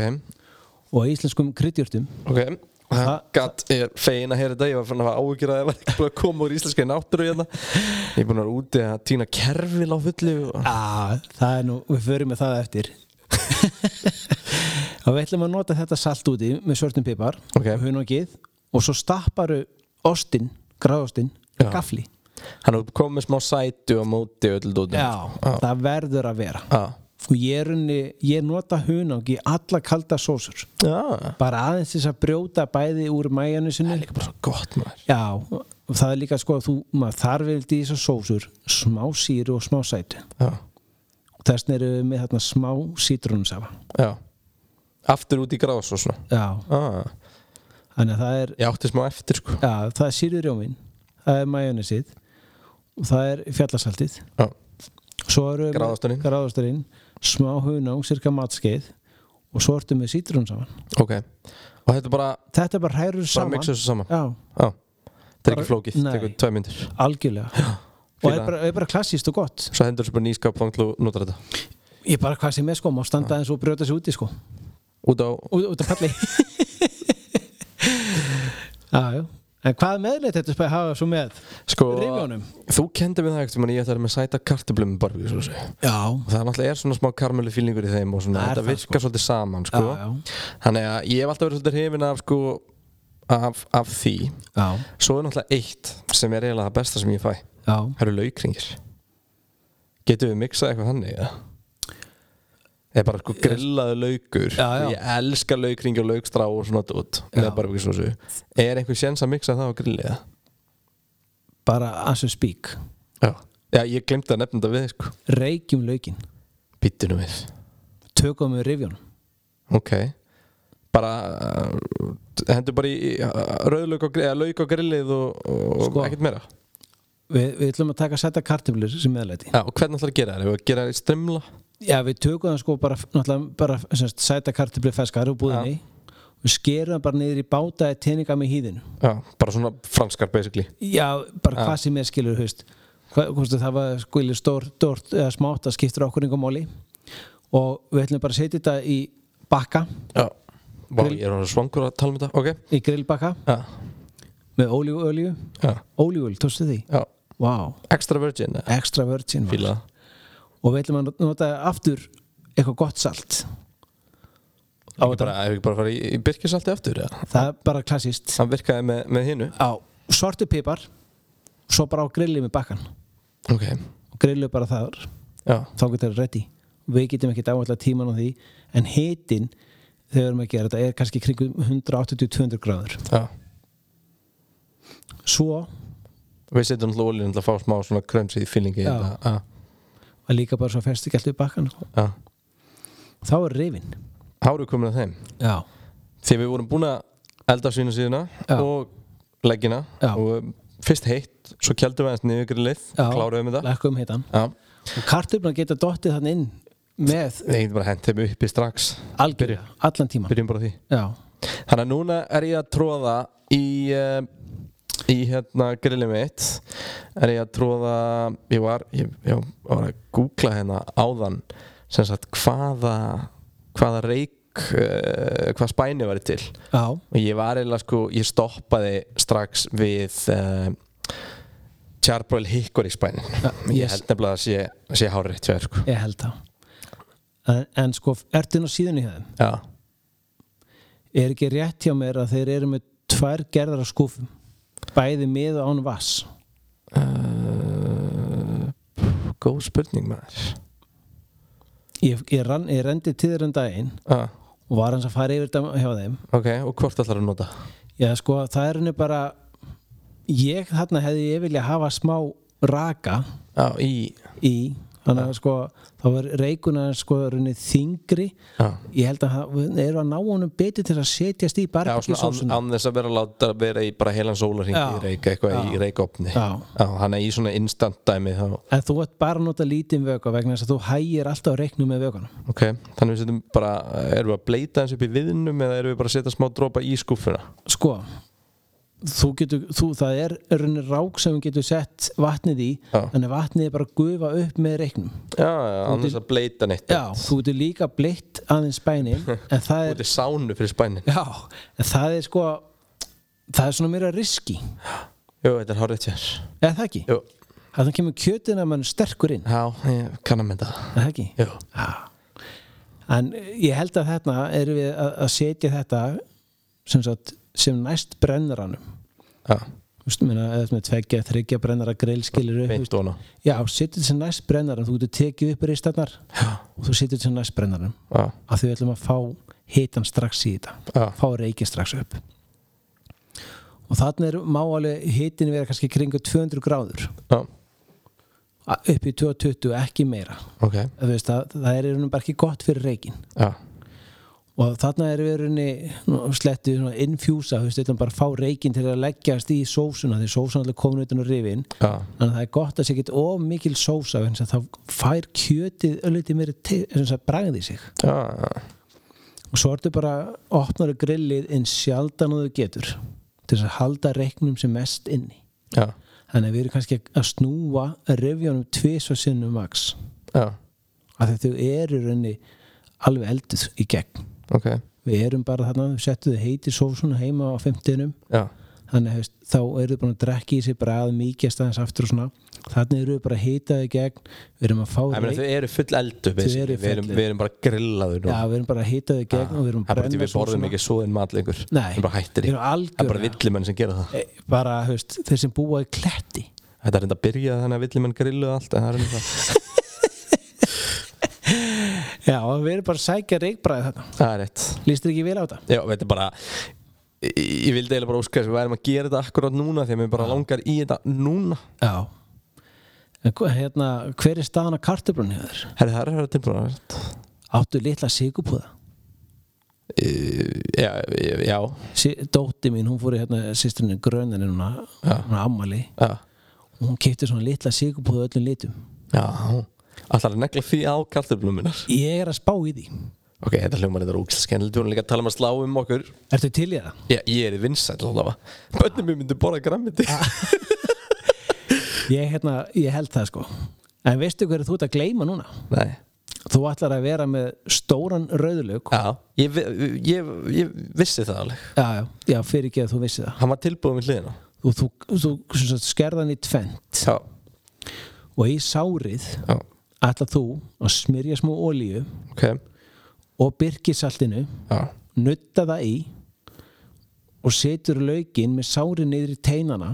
og íslenskum kryddjörtum
ok
Það-
Gatt, ég er fegin að heyra þetta Ég var fann að hafa áhyggjur að það var ekki búin að koma úr íslenska náttúru hérna Ég er búin að vera úti að týna kerfil á fullu og...
Já, það er nú, við förum með það eftir og við ætlum að nota þetta salt úti með svörtum pipar
Ok.
hunogið og svo stapparu ostin, gráðostin
Já.
gafli,
Hann er komið með smá sætu á móti Ah. öll dótum
það verður að vera
Já,
og ég, er unni, ég nota hunang í alla kalda sósur
já
bara aðeins til þess að brjóta bæði úr mæjanusinu
Líka bara svo gott maður
Já, og það er líka sko að þú, maður þarf vildi í þessar sósur smá síru og smá sætu
Já,
og þessna eru við með þarna smá sítrunsafa
já Aftur út í grás og svona
Já,
ah.
þannig að það er
Ég átti smá eftir sko
Já, það er sírurjómin, það er majónesið og það er fjallasaltið
Já,
svo eru
Gráðaosturinn.
gráðasturinn smá hunang, cirka matskeið og svo ertu með sítrun saman
ok Og þetta er bara,
þetta er bara hærur
bara
saman
mixa þessu saman
Já,
Já, þetta er
Bara-
ekki flókið,
Nei.
þetta er tvei myndir
algjörlega og
fíla
er
það.
bara, er bara klassíst og gott
Svo hendur þessu bara nýskap fanglu notar þetta
ég er bara hvað sem er sko, má standa eins og brjóta sig úti sko
Út á
út, út af palli Já, já En hvað meðleitt þetta spæði hafa svo með
Sko,
Rifjónum.
þú kendi mig það ekkert mann ég ætlaði með sæta kartöblum með barbíu og
Já,
það náttúrulega er svona smá karmölu fílingur í þeim og svona,
Það er
þetta
það,
virkar svolítið saman sko.
Já, já.
þannig að ég hef alltaf verið svolítið hrifin af, sko, af, af því
já,
svo er náttúrulega eitt sem er eiginlega það besta sem ég fæ
já
það eru laukringir getum við miksað eitthvað þannig eða? eða bara sko grillaðu laukur
Já, já.
ég elska laukringi og laukstrá og svona út
Já.
með barbíu svo er einhver séns að miksa það á grilli eða?
Bara as we speak
já. já, ég glemti að nefna þetta við sko.
Reykjum laukinn
býttunum við
tökum við rifjón
Ok Bara uh, hendur bara í uh, rauðlauk og, gri- eða lauk og grillið og, og
Sko.
ekkert meira
við, við ætlum að taka að setja kartöflur sem meðlæti
Já, og hvernig ætlar að gera það? Ef að gera það í strimla?
já við tökum það sko bara, náttúrulega bara semst, sæta kartöflur feskar og búðinni við skerum það bara niður í báta eða teininga með hýðinu
Já, bara svona franskar basically
já bara hvað sem er skilur haust hvort það var skilur stór, stórt eða smátt það skiptir okkur yngum móli og við ætlum bara að setja þetta í bakka
Já Vá, ég er hann svangur að tala um þetta, ok
í grillbakka
Já,
með ólíuolíu
já,
ólíuol, tókstu því?
já
wow,
Extra virgin, eða?
extra virgin maður.
fíla
og við ætlum að nota aftur eitthvað gott salt á
það Ekki
þetta
bara, ef ekki bara fara í, í byrkisalti aftur, eða?
það er bara klassist
Hann virkaði með, með hinu
á sortu pipar svo bara á grillið með bakkan
Ok,
og grillið bara þar
já,
þá getur það ready við getum ekkert áallega tíman á því en hitin þegar við erum að gera þetta er kannski kringum 180-200 gráður
já
svo
Við setjum alltaf olíun til að fá smá svona krömsið fílingi í
Já.
þetta.
að líka bara svo festi gælt við bakkan
Já, já
þá er rifin
Háru komin að þeim
já,
því við vorum búin að elda svínu síðuna
Já.
og leggina
Já.
og um, fyrst heitt, svo kjaldum við aðeins niður grillið,
Já.
kláruðum þetta
lækkum hitan
Já.
og kartöflan geta dottið hann inn með
Við getum bara hent þeim uppi strax
algjörja, allan tíman
byrjum bara á því
já,
þannig að núna er ég að tróða í uh, í hérna grillið mitt er ég að tróða ég var, ég, ég var að googla hérna áðan sem sagt hvaða hvaða reik uh, hvað spæni væri til
já
og ég var eiginlega sko, ég stoppaði strax við uh, Charbroil Hickory spænin ég
yes.
held nefnilega að sé, sé hárétt hjá þér sko.
Ég held það. En, en sko, ertu nú síðan í þeim?
já,
Er ekki rétt hjá mér að þeir eru með tvær gerðar af skúfum? Bæði með og án vass.
Eh, góð spurning maður
Ég, ég, rann, ég rendi til þeir um daginn
ah,
og var hans að fara yfir þetta hjá þeim.
ok, og hvort ætlar að nota?
Já, sko, það er henni bara ég þarna hefði ég vilja hafa smá raka
já, í
í þannig að sko, þá var reikuna sko runni þingri
já,
ég held að það- við erum að ná honum betur til að setjast í
já svona án,
barbekinsósuna
án þess að vera að láta að vera í bara heilan sólarhing
Já.
í reik, eitthvað
Já.
í reikopni
Já.
hann er í svona instant dæmi þá,
en þú ert bara að nota lítinn vöka vegna þess að þú hægir alltaf á reiknum með vökanum
ok, þannig við setjum bara erum við að bleita eins upp í viðnum eða erum við bara að setja smá dropa í skúfuna
sko þú getur, þú, það er runni rák sem þú getur sett vatnið í
Já.
þannig að vatnið er bara að gufa upp með reiknum
já, já, án þess að bleita neitt
já, þú getur líka blitt aðeins bænin en það er
út í sánu fyrir spænin
já, en það er sko það er svona meira riski
jú, þetta er hárið tjens
eða það ekki,
jú,
þannig kemur kjötina mann sterkur inn,
já, ég kann að mynda það
eða það ekki
jú,
Já. En ég held að þetta erum við að að setja þetta sem, sagt, sem næst brennaranum.
já,
Þú veist, meina, eða sem er tveggja, þryggja brennara grill skilur upp. þú veist.
beint óna
Já, setja þetta sem næst brennaranum. Þú getur tekið upp ristannar og þú setja þetta sem næst brennaranum.
já,
Af því við ætlum að fá hitan strax í þetta.
já,
Fá reiki strax upp. Og þannig er má alveg hitin vera kannski kringu 200 gráður.
já,
A- Upp í 220, ekki meira.
ok
Þú Veist, það, það er í rauninni bara ekki gott fyrir reikin.
já,
og þarna erum við rauninni slettu svona infjúsa þú veist, þetta bara að fá reikinn til að leggjast í sósuna því sósuna allir komin utan á rifin
já,
þannig að það er gott að sé ekkit of mikil sósa þannig að þá fær kjötið öllítið meiri til, þess að bragði sig
já, já.
og svo ertu bara opnar grillið en sjaldan og þú getur til þess að halda reiknum sem mest inni
já,
þannig að við erum kannski að snúa rifjónum tvisvar sinnum max
já,
af því að þau eru í rauninni alveg elduð í gegn
ok
við erum bara þarna, við settum þau heiti sósuna heima á fimmtinum
já,
þannig hefst, þá eru þau búin að drekka í sig brað mikið staðins aftur og svona þannig eru þau bara heitaði gegn við erum að fá
ég meina
reik-
þau eru full eldu
Þau eru
basically. við erum,
full
við erum bara grillaður nú
já, við erum bara heitaði gegn og við erum
Ah, það er bara
brenna
því við borðum
sósuna.
ekki svoðin mat lengur
Nei,
við bara hættir
við
í
erum
það er bara
algjörlega
villimenn sem gera það
Eh, bara hefst, þeir sem búa í kletti
þetta er reynda að byrja þannig að villimenn grilluðu allt en það er reynda það
já, og við erum bara að sækja reikbræði þarna
það er rétt
líst þér ekki vel á þetta?
já, þetta er bara ég, ég vildi eiginlega bara óska þess að við værum að gera þetta akkurát núna þegar við bara langar í þetta núna
já En hva- hérna, hver er staðan að kartöflunni hefur?
herri það er að vera tilbúin
áttu litla sigupúða
Eh, já, já, já,
sí, dótti mín, hún fór í hérna sýsturinn gröninni núna, hún er ammali
já.
og hún keipti svona litla sigupúða öllum litum
já. alltaf að negla því á kartöflum minnar
ég er að spá í því
Ok, þetta hljómar þetta rúkslega skemmtilegt Við vorum líka að tala um að slá um okkur
Ertu til í það?
Já, ég er í vinsæll allavega Bönnum mér myndi borða grammiti
Ég, hérna, ég held það sko En veistu hverju þú ert að gleyma núna?
Nei
Þú ætlar að vera með stóran rauðlaug
Já, ég, vi- ég, ég vissi það alveg
Já, já, já fyrir ekki að þú vissi það
Hann var tilbúið með hliðina
Og þú, þú, þú skerðan í tvent
Já,
Og í sárið
já,
ætlar þú að smyrja smá olíu
ok
Og byrkisaltinu
Já,
Nutta það í Og setur laukinn með sárið niður í teinana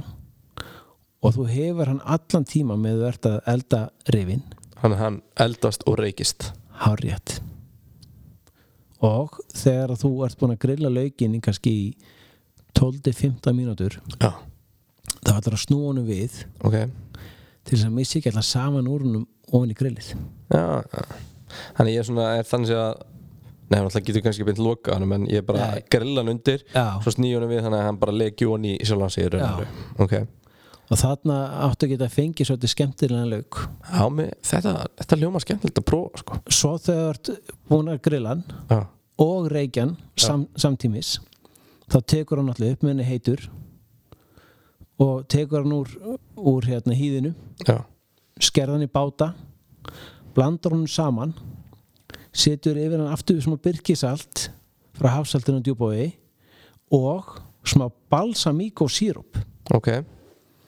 Og þú hefur hann allan tíma með þú ert að elda rifin
hann, hann eldast og reykist
Hárjætt Og þegar að þú ert búin að grilla laukinni kannski í 12-15 mínútur
Já,
þá ætlar að snúa honum við
ok
til þess að missi ekki alltaf saman úr honum ofan í grillið
Já, já Þannig ég er svona, er þannig sé að Nei, hann alltaf getur kannski beint loka hann En ég er bara
Nei.
að grilla hann undir
Já.
Svo sný honum við þannig að hann bara legju hann í sjálf hans í rauninu Ok Já,
og þarna áttu að geta að fengi svolítið skemmtilega lauk
mér, þetta, þetta hljóma skemmtilegt að prófa sko
svo þegar þú ert búin að grilla hann
Já,
og reykjan sam, samtímis þá tekur hann alltaf upp með henni heitur og tekur hann úr, úr hérna hýðinu
já
skerðan í báta blandar honum saman setur yfir hann aftur smá byrkisalt frá hafsaltinu og djúbói og smá balsamíko sírup
Ok,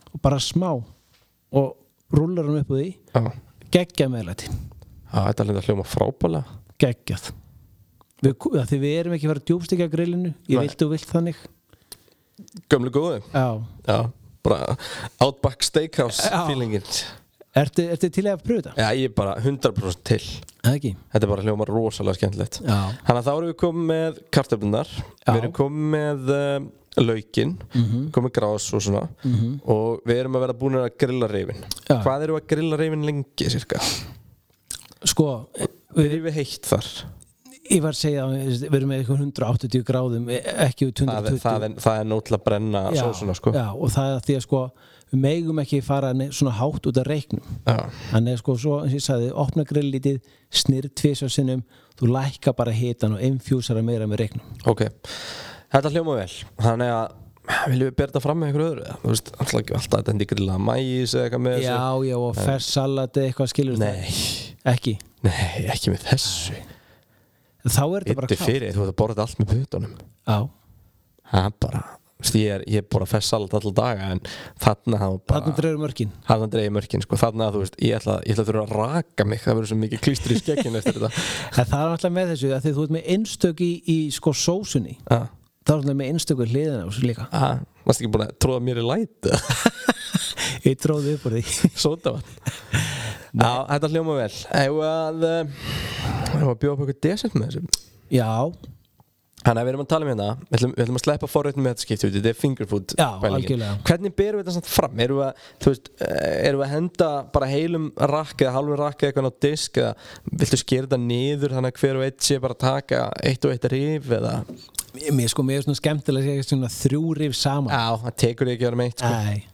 og bara smá og rúlar hann upp úr því
já,
geggjað meðlæti,
já þetta er hljóma hljóma frábælega
geggjað við, af því við erum ekki að fara djúbstikja grillinu ég
Nei.
vilt og vilt þannig
Gömlu góðu
Já.
Já, bara Outback Steakhouse
Já.
feelingin
ertu, ertu til í að pröfu þetta?
Já, ég er bara 100% til
eða ekki?
Þetta er bara hljóma rosalega skemmtilegt
Já.
Þannig að þá erum við komið með kartöflunar
Já.
Við erum komið með um, laukin komið grás og svona og við erum að vera búin að grilla reyfin
Já.
hvað eru að grilla reyfin lengi cirka?
sko,
við erum heitt þar
ég var að segja að við erum með eitthvað 180 gráðum e- ekki við
það er,
220
það er, það er nóg til að brenna
Já,
sósuna sko
já, og það er því að sko við megum ekki fara ne- svona hátt út af reiknum
Já.
þannig að sko svo, eins og ég sagði, opna grillítið snirr tvisar sinnum þú lækka bara hitan og infjúsara meira með reiknum
ok, þetta hljóma vel þannig að viljum við bera þetta fram með einhverju öðru eða? þú veist, alltaf ekki alltaf þetta endi grilla mæs eða eitthvað með
já, já, og fersk salat eða eitthvað skilur
þessu nei,
ekki,
nei, ekki með þessu
þá er þetta bara
yttir fyrir, þú ert að borða þetta allt með putunum
já,
það er bara, þú veist, ég er, ég er bara fessalat alltaf daga en þarna þá bara
þarna dreifur mörkin
hann að dreigja mörkin sko, þarna að þú veist, ég ætla, ég ætla að þurfa að raka mig það verður svo mikið klístri í skekkinu eftir þetta
en það er alltaf með þessu, af því þú ert með innstök í, í sko sósunni
ah,
það er alltaf með innstöku hliðina á þessu líka
ah, varst ekki búin að tróða mér í læti
ég tróði upp úr því
sótavann Já, þetta hljóma vel Eigum við að Hefum að bjóða upp eitthvað decent með þessu
já,
Þannig að við erum að tala um hérna Við ætlum, við ætlum að sleppa forréttum með þetta skipti út Þetta er fingerfood
Já,
pælingin.
algjörlega.
Hvernig berum við þetta samt fram? Erum við að, þú veist, eh, erum við að henda bara heilum rakk eða halvum rakk eða eitthvað á disk eða viltu skera þetta niður þannig að hver og eitt sé bara að taka eitt og eitt rif eða
mér mér sko, mér er svona skemmtilega að segja svona þrjú rif saman
Já, það tekur þig ekki að vera meitt sko.
Nei,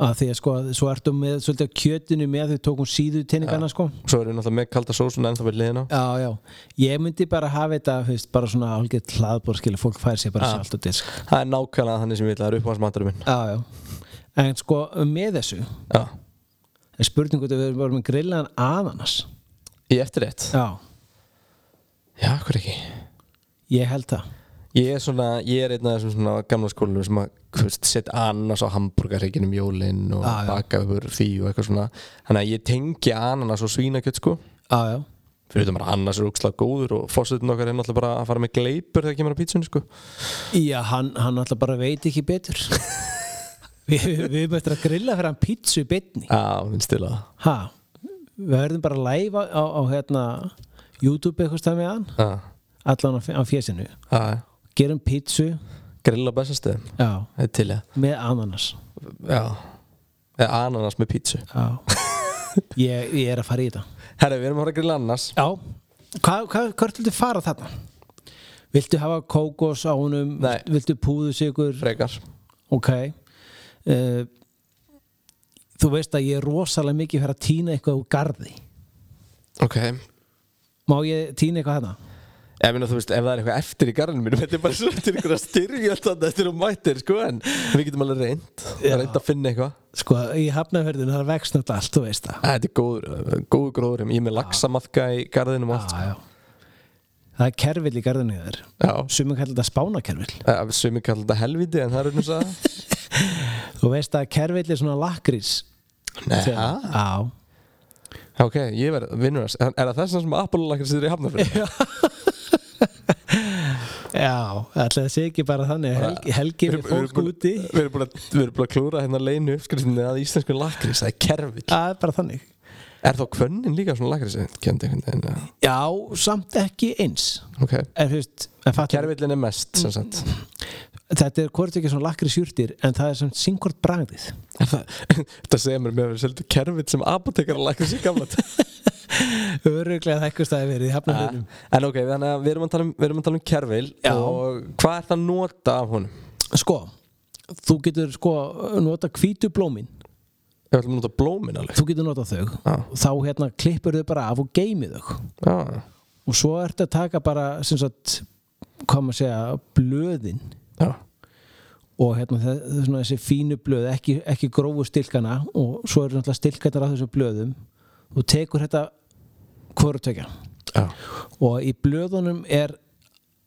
að því að sko svo ertum með svolítið af kjötinu með þau tókum síðu teiningana sko
Svo erum við náttúrulega með kalda sósuna ennþá við liðina
Já, já, ég myndi bara hafa þetta hefst, bara svona hálfgeitt hlaðbór skilja fólk fær sér bara
Já.
salt og disk
Það er nákvæmlega þannig sem við ætla að uppáðast maturum minn
Já, já, en sko með þessu
Já,
er spurning hvort að við vorum með grillaðan ananas
í eftirrétt
Já,
Já, hver ekki
ég held það
Ég er svona, ég er einn af þessum svona gamla skólanum sem að þú veist, setja ananas á hambúrgarreikinum jólinn og
Já, já.
baka yfir því og eitthvað svona Þannig að ég tengi ananas og svínakjöt sko
Já, já,
Fyrir þetta bara ananas er úkslega góður og fórsetin okkar er náttúrulega bara að fara með gleipur þegar kemur á pítsunni sko
já hann, hann alltaf bara veit ekki betur Við vi, vi erum eftir að grilla fyrir hann pítsu í bytni
Já, finnst til að
Ha, við verðum bara live á, á, á hérna YouTube eitthvað stað með hann
Já,
allan á, á fjesinu
já,
gerum pítsu
grilla bestastöðum
já,
Þetta er til að,
með ananas
já Eða ananas með pítsu
já. Ég, ég er að fara í þetta
Herra, við erum að fara að grilla ananas
já, hvað hva, hva, viltu fara þarna? viltu hafa kókos á honum
Nei.
viltu púðusigur
Frekar
ok uh, þú veist að ég er rosalega mikið fyrir að týna eitthvað úr garði
Ok Ég
má ég týna eitthvað hérna? þarna?
meina, þú veist, ef það er eitthvað eftir í garðinu mínum Þetta er bara svona til ykkur að styrja þetta Þetta er um mættir, sko, en við getum alveg reynd
Já.
Reynd að finna eitthvað
sko, í hafnafjörðinu það er vexnöld allt, þú veist það
Æ, Þetta er góður, góður gróður Ég er með laxamafka í garðinum og allt
já, já. það er kerfill í garðinu í þér
Já,
sumum kallar þetta spánakerfill
já. sumi kallar þetta helviti En það er unnum það
Þú veist að kerfill er svona lakrís
Nei,
Já,
ha? ok, ég verð vinnur þess Er það þess sem Apollo-lakar sér í hafnafrið?
já ætli það sé ekki bara þannig Helgi, helgi er fólk úti
Við erum búin að, við erum búin að klúra hérna leinu uppskriftinni að íslensku lakris, það er kerfill
Það er bara þannig
Er þá kvönnin líka svona lakris kendi einhvern veginn? eða?
Já, samt ekki eins
Ok,
en, hefst, en fattu,
kerfillin er mest sem sagt
Þetta er hvort ekki svona lakrís júrtir en það er samt sinkort bragðið
Er það- Þetta segir mér mér verið seldu kerfill sem apotekar lakris í gamla daga.
Öruglega það eitthvað staði verið í hafnafjörðum
Ah. En ok, þannig að við erum að tala um, við erum að tala um kerfill
Já.
og hvað er það að nota af honum?
Sko, þú getur sko nota hvítu blómin
Við ætlum að nota blómin alveg
þú getur nota þau
Já.
þá hérna klippur þau bara af og geymið þau
Já,
og svo ertu að taka bara sem sagt, hvað maður segja blöðin
já,
og hérna það, það er svona þessi fínu blöð ekki, ekki grófu stilkana og svo eru náttúrulega stilkarnar á þessum blöðum þú tekur þetta hvoru tökja
já.
og í blöðunum er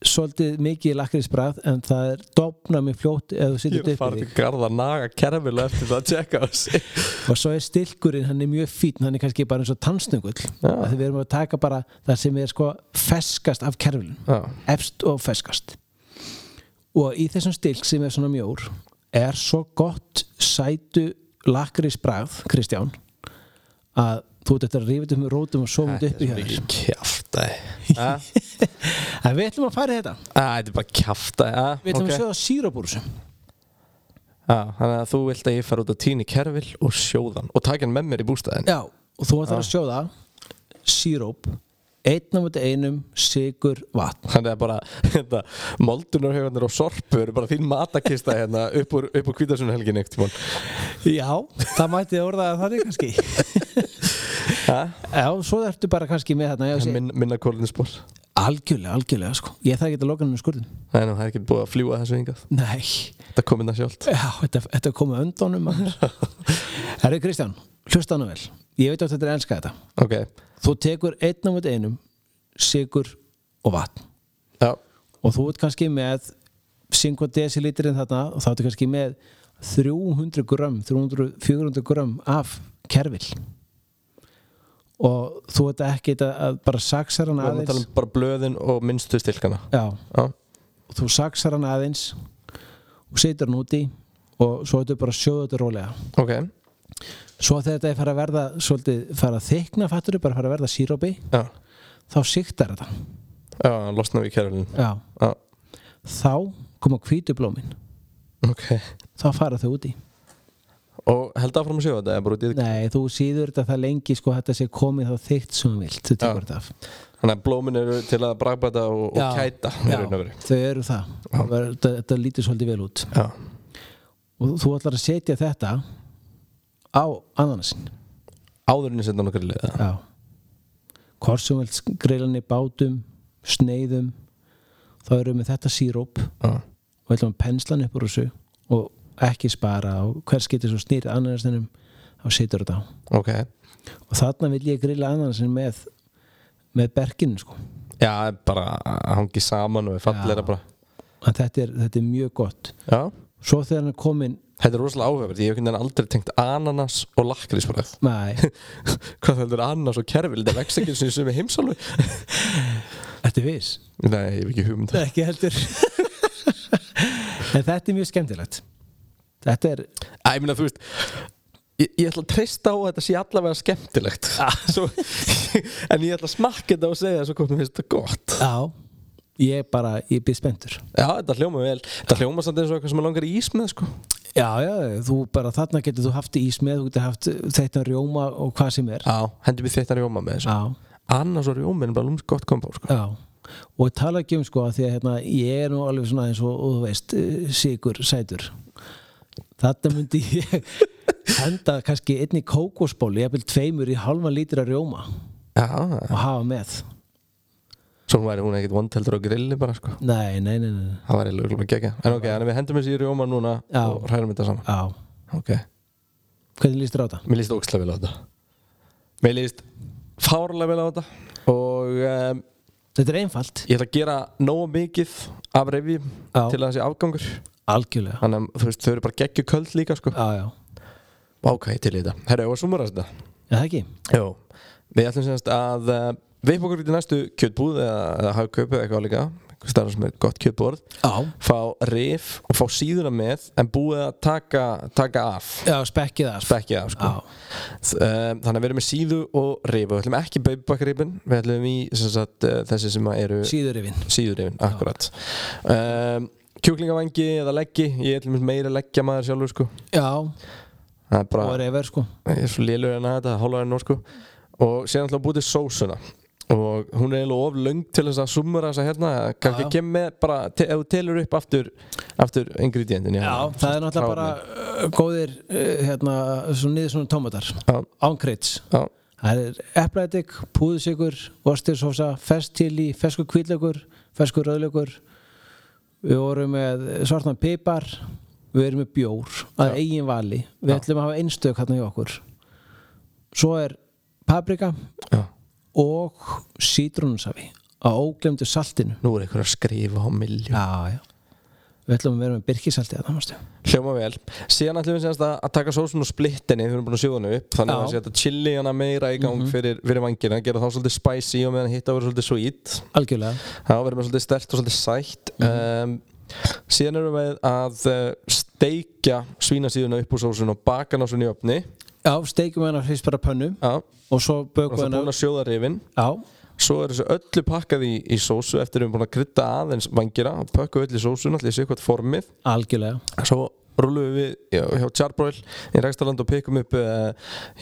svolítið mikið lakrísbræð en það er dofna með fljótt eða þú
Ég
situr
er að fara
upp í
til
því
garða að naga kerfill og eftir það að tjekka á sig
og svo er stilkurinn, hann er mjög fín hann er kannski bara eins og tannstungull
Já.
þegar við erum að taka bara það sem er sko feskast af kerfilin
Já,
efst og feskast og í þessum stilk sem er svona mjór er svo gott sætu lakrísbragð, Kristján að þú ert eftir að rífa þetta með rótum og svo myndi upp í
Þetta er svo
hjá þér
mikið kjaft kjaftaði Ha?
En við ætlum að fara í þetta
Æ, Ah, Þetta er bara ah, kjaftaði
Við ætlum að sjóða sírabúrsu
Þannig að þú vilt að ég fara út að týni kerfil og sjóðan og taka hann með mér í bústæðin
Já, og þú ætlar að sjóða síróp einn á múti einum sigur vatn
Þannig að bara hérna, moldunarhauðanir og sorpu eru bara þín matakista hérna, upp úr, upp úr kvítasunhelgin eitt
Já, það mætti orðaða þannig kannski Já, svo ertu bara kannski með þarna já, sé,
Min, Minna kólinsbór
Algjörlega, algjörlega sko Ég þarf ekki að loka henni um skurðin
Nei, nú, það er ekki búið að fljúa þessu hingað
Nei,
Það komið það sjálft
já, þetta, þetta er komið öndunum Herri Kristján, hlusta hana vel Ég veit að þetta er elska þetta
Ok,
Þú tekur einn á múti einum sigur og vatn
já,
og þú ert kannski með 5 decilitrin þarna og þá ertu kannski með 300 grömm 300, 400 grömm af kerfil og þú ert ekki að, að bara saksar hann
við erum að tala
aðeins
um bara blöðin og minnstu stilkana
já,
Já,
þú saksar hann aðeins og setur hann úti og svo ertu bara að sjóða þetta rólega
ok
svo þegar þetta er fara að verða svolítið fara að þykna fattur bara fara að verða sírópi
Já,
þá siktar þetta
já, losna við kerfilin
já.
Já,
þá koma hvítublómin
ok
þá fara þau úti
Og held áfram að sjóða þetta, er bara út í
Nei, þú síður þetta það lengi sko þetta sé komið þá þygt sem þú vilt þú tekur þetta af
Þannig að blómin eru til að bragbæta og, og kæta í raun og veru.
þau eru það þetta, þetta lítur svolítið vel út
Já,
og þú ætlar að setja þetta á ananasin
áðurinn sem það nokkar liða
Já hvort sem þú vilt greilan í bátum sneiðum þá erum við þetta síróp
Já,
og ætlum að pensla hann upp úr þessu og ekki spara og hver skiptir svo snýrið ananasinum þá setur þetta á
ok
og þarna vil ég grilla ananasin með með berginu sko
Já, bara að hangi saman og er fallegra
Já.
bara
að þetta er, þetta er mjög gott
Já,
svo þegar hann er komin
þetta er rosalega áhugavert Ég hef einhvern veginn aldrei tengt ananas og lakkrísbröð
nei,
Hvað það er ananas og kerfil, þetta vex ekki eins og í sumi heimsálfu
þetta er viss
Nei, ég hef ekki hugmynd
ekki heldur en þetta er mjög skemmtilegt þetta er
Æ, ég meina, þú veist Ég, ég ætla að treysta á að þetta sé allavega skemmtilegt svo, En ég ætla að smakka þetta og segja Svo komum við þetta gott
á, ég bara, ég býð spenntur
Já, þetta hljóma vel Þetta hljóma samt eins og eitthvað sem er langar í ís með sko.
já, já, þú bara, þarna getur þú haft ís með þú getur haft þetta rjóma og hvað sem er
Já, hendur við þetta rjóma með þessu
á,
Annars og rjóma er bara lúms gott kombo sko.
já og tala ekki um sko að því að hérna, ég er nú alveg svona eins og, og þú veist sigur sætur þetta myndi ég henda kannski einni kókosból ég vil tveimur í halva lítra rjóma
Já,
og hafa með
svo væri hún ekkit vondheldur á grilli bara sko
nei, nei, nei, nei.
Það væri lögulega bara gegja En ok, þannig við hendum þessi í rjóma núna
Já.
og hrærum þetta saman
Á,
Ok,
hvernig líst þér á þetta?
mér líst ókslega vel á þetta Mér líst fárlega vel á þetta Og um,
Þetta er einfalt
ég ætla að gera nógu mikið af revi
Já.
til að þessi afgangur
Algjörlega
þannig að þú veist, þau eru bara geggju köld líka sko.
Já, já,
ákvæði til í þetta herra, og sumur að þetta
er það ekki?
Jó. við ætlum semst að uh, við okkur út í næstu kjötbúð eða, eða hafa kaupið eitthvað líka starf sem er gott kjötborð
Já
fá rif og fá síðuna með en búið að taka, taka af
Já, spekkið það sko.
spekkið af sko.
Já,
Um, Þannig að við erum með síðu og rif og við ætlum ekki baubakkarifin, við ætlum í sem sagt, uh, þessi sem að eru
síðurifin
síðurifin, akkurat um, kjúklingavangi eða leggji ég ætlum meira leggja maður sjálfur sko
Já,
það er bara,
og reyfer sko
ég er svo lélur en að þetta hálfa enn sko og séðan ætlum að búið til sósuna og hún er eiginlega of löng til þess að sumura þess að hérna, kannski
Já.
kem með bara, te, ef þú telur upp aftur aftur ingredientin
Já, það er náttúrulega bara uh, góðir uh, hérna, svona niður svona tómatar
Já.
Ánkreits
bara
Það er eplaedik, púðusikur, ostirsósa, fersk chili, ferskur kvítlaugur, ferskur rauðlaugur. Við vorum með svartan pipar, við erum með bjór að eigin vali. Við
Já.
ætlum að hafa einstök hérna hjá okkur. Svo er paprika
Já.
og sítrónusafi á óglemdu saltinu.
nú er einhver að skrifa á miljón
Já, já. Við ætlum að vera með birkisalti að það, mástu.
Hljóma vel. Síðan ætlum við semst að, að taka sósun og splittinni, við erum búin að sjóða henni upp, þannig
Já.
að setja chili hana meira í gang fyrir, fyrir vangina, gera þá svolítið spicy og meðan hitta verður svolítið sweet.
Algjörlega.
Þá verður með svolítið stert og svolítið sætt. um, síðan erum við að uh, steikja svínasíðuna upp úr sósun og baka hana svona í opni.
Já, steikum hennar hrist bara hérna pönnu
Já, og
og svo bökum
það er
hennar.
búin að sjóða rifin
Já,
svo er þessu öllu pakkað í, í sósu eftir við erum búin að krydda aðeins vangira og pökka öllu í sósun, allir séu hvað formið
algjörlega
svo rúlum við hjá, hjá Charbroil í Rækstaland og pikkum upp uh,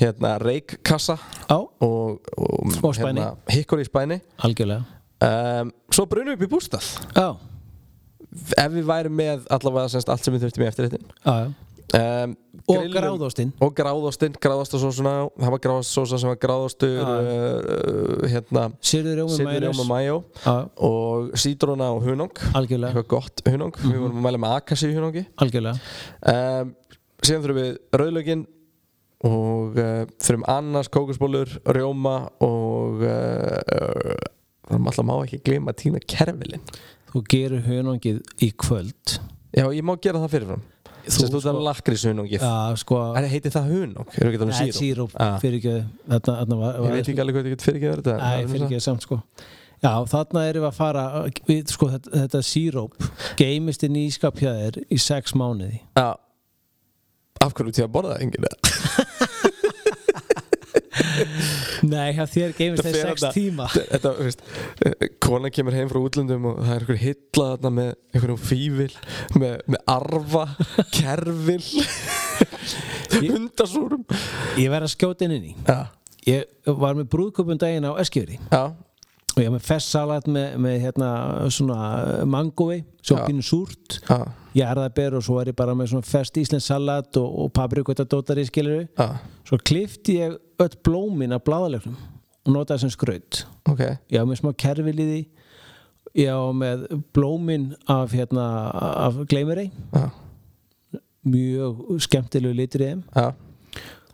hérna reikkassa
á,
og, og hérna,
Smá spæni.
hikkur í spæni
algjörlega
um, svo brunum við upp í bústað
á,
ef við værum með allavega semst allt sem við þurftum í eftirréttin
á, já.
um,
og
grillum-
gráðóstinn
og gráðostinn, gráðostasósuna það var gráðostasósa sem var gráðostur
Já.
uh, uh, hérna
sirður rjómi
sirri rjóma
mæjus
majó og sítrona og hunang
algjörlega,
eitthvað gott hunang,
Mhm.
við vorum að mæla með akassi hunangi
algjörlega
um, síðan þurfum við rauðlögin og uh, þurfum annars kókusbólur, rjóma og uh, uh, það má alltaf má ekki gleyma að týna kerfilinn
þú gerur hunangið í kvöld
já, ég má gera það fyrirfram
Þú
sem
sko-
þú þannig lakrís hunangið
já, sko
er heiti það hunang, eru ekki þannig sírum
síróp
Ah.
fyrir ekki þarna, þarna var,
ég
var
veit ekki alveg hvað ég get fyrirgeður þetta
Æ,
Það er
fyrir
svona-
ekki samt sko Já, þarna erum við að fara við, sko, þetta, þetta síróp geimist inn í ískap hjá þér í sex mánuði
Já. af hverju til að borða það enginn
Nei, hjá þér geimist það
Þetta
í
fer
sex
þarna-
tíma
þetta, þú veist, eh, kona kemur heim frá útlöndum og það er einhver hilla þarna með einhverjum fývil, með, með arfa, kerfil, hundasúrum.
Ég verð að skjóta inn inn í
Já,
Ég var með brúðköpum daginn á Eskjöri
já,
og ég var með festsalat með, með hérna, svona mangói svo
Já.
pínu súrt
já,
ég er það ber og svo er ég bara með svona fest íslensk salat og, og paprikota dótari skilur
já,
svo klifti ég öll blómin af bláðalegnum og notaði sem skraut
ok,
ég á með smá kerfil í því ég á með blómin af, hérna, af gleymurei
já,
mjög skemmtilegu litur í þeim
já,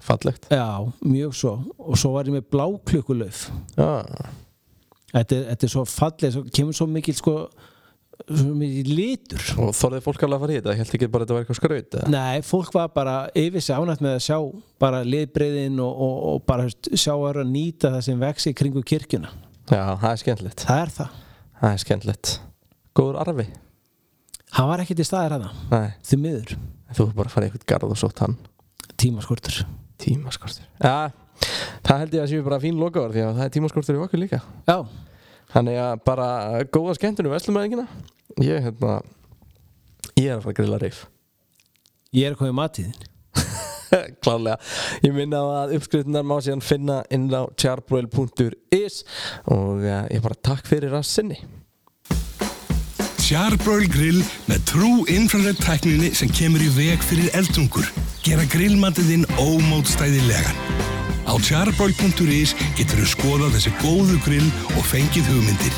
fallegt.
já, mjög svo og svo var ég með bláklukkulöf
Já,
þetta er, þetta er svo falleg, svo kemur svo mikil sko, svo mikil litur
og þorðið fólk alveg að fara í þetta, ég held ekki bara að þetta var eitthvað skraut. eða?
Nei, fólk var bara yfir sig ánætt með að sjá bara liðbreyðin og, og, og bara hefst, sjá að nýta það sem vex í kringu kirkjuna.
Já, það er skemmtilegt,
Það er það.
það er skemmtilegt. Góður arfi.
Hann var ekki til staðar hana,
Nei,
því miður,
þú er bara að fara í eitthvað garð og sótt hann.
tímaskortur.
Tímaskortur. Já, það held ég að séu bara fín lokaður því að það er tímaskortur í okkur líka.
Já,
Þannig að bara góða skemmtunum Veslumæðingina Ég hérna Ég er að fara að grilla reif
ég er komið matiðin.
Klálega Ég minna á að uppskriftunar má síðan finna inn á charbroil.is Og uh, ég bara takk fyrir að sinni
Charbroil Grill með trú infrared tækninni sem kemur í veg fyrir eldungur. Gera grillmatiðinn ómótstæðilegan. Á charbroil.is getur þú skoðað þessi góðu grill og fengið hugmyndir.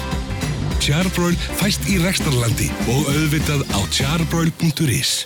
Charbroil fæst í rekstarlandi og auðvitað á charbroil.is.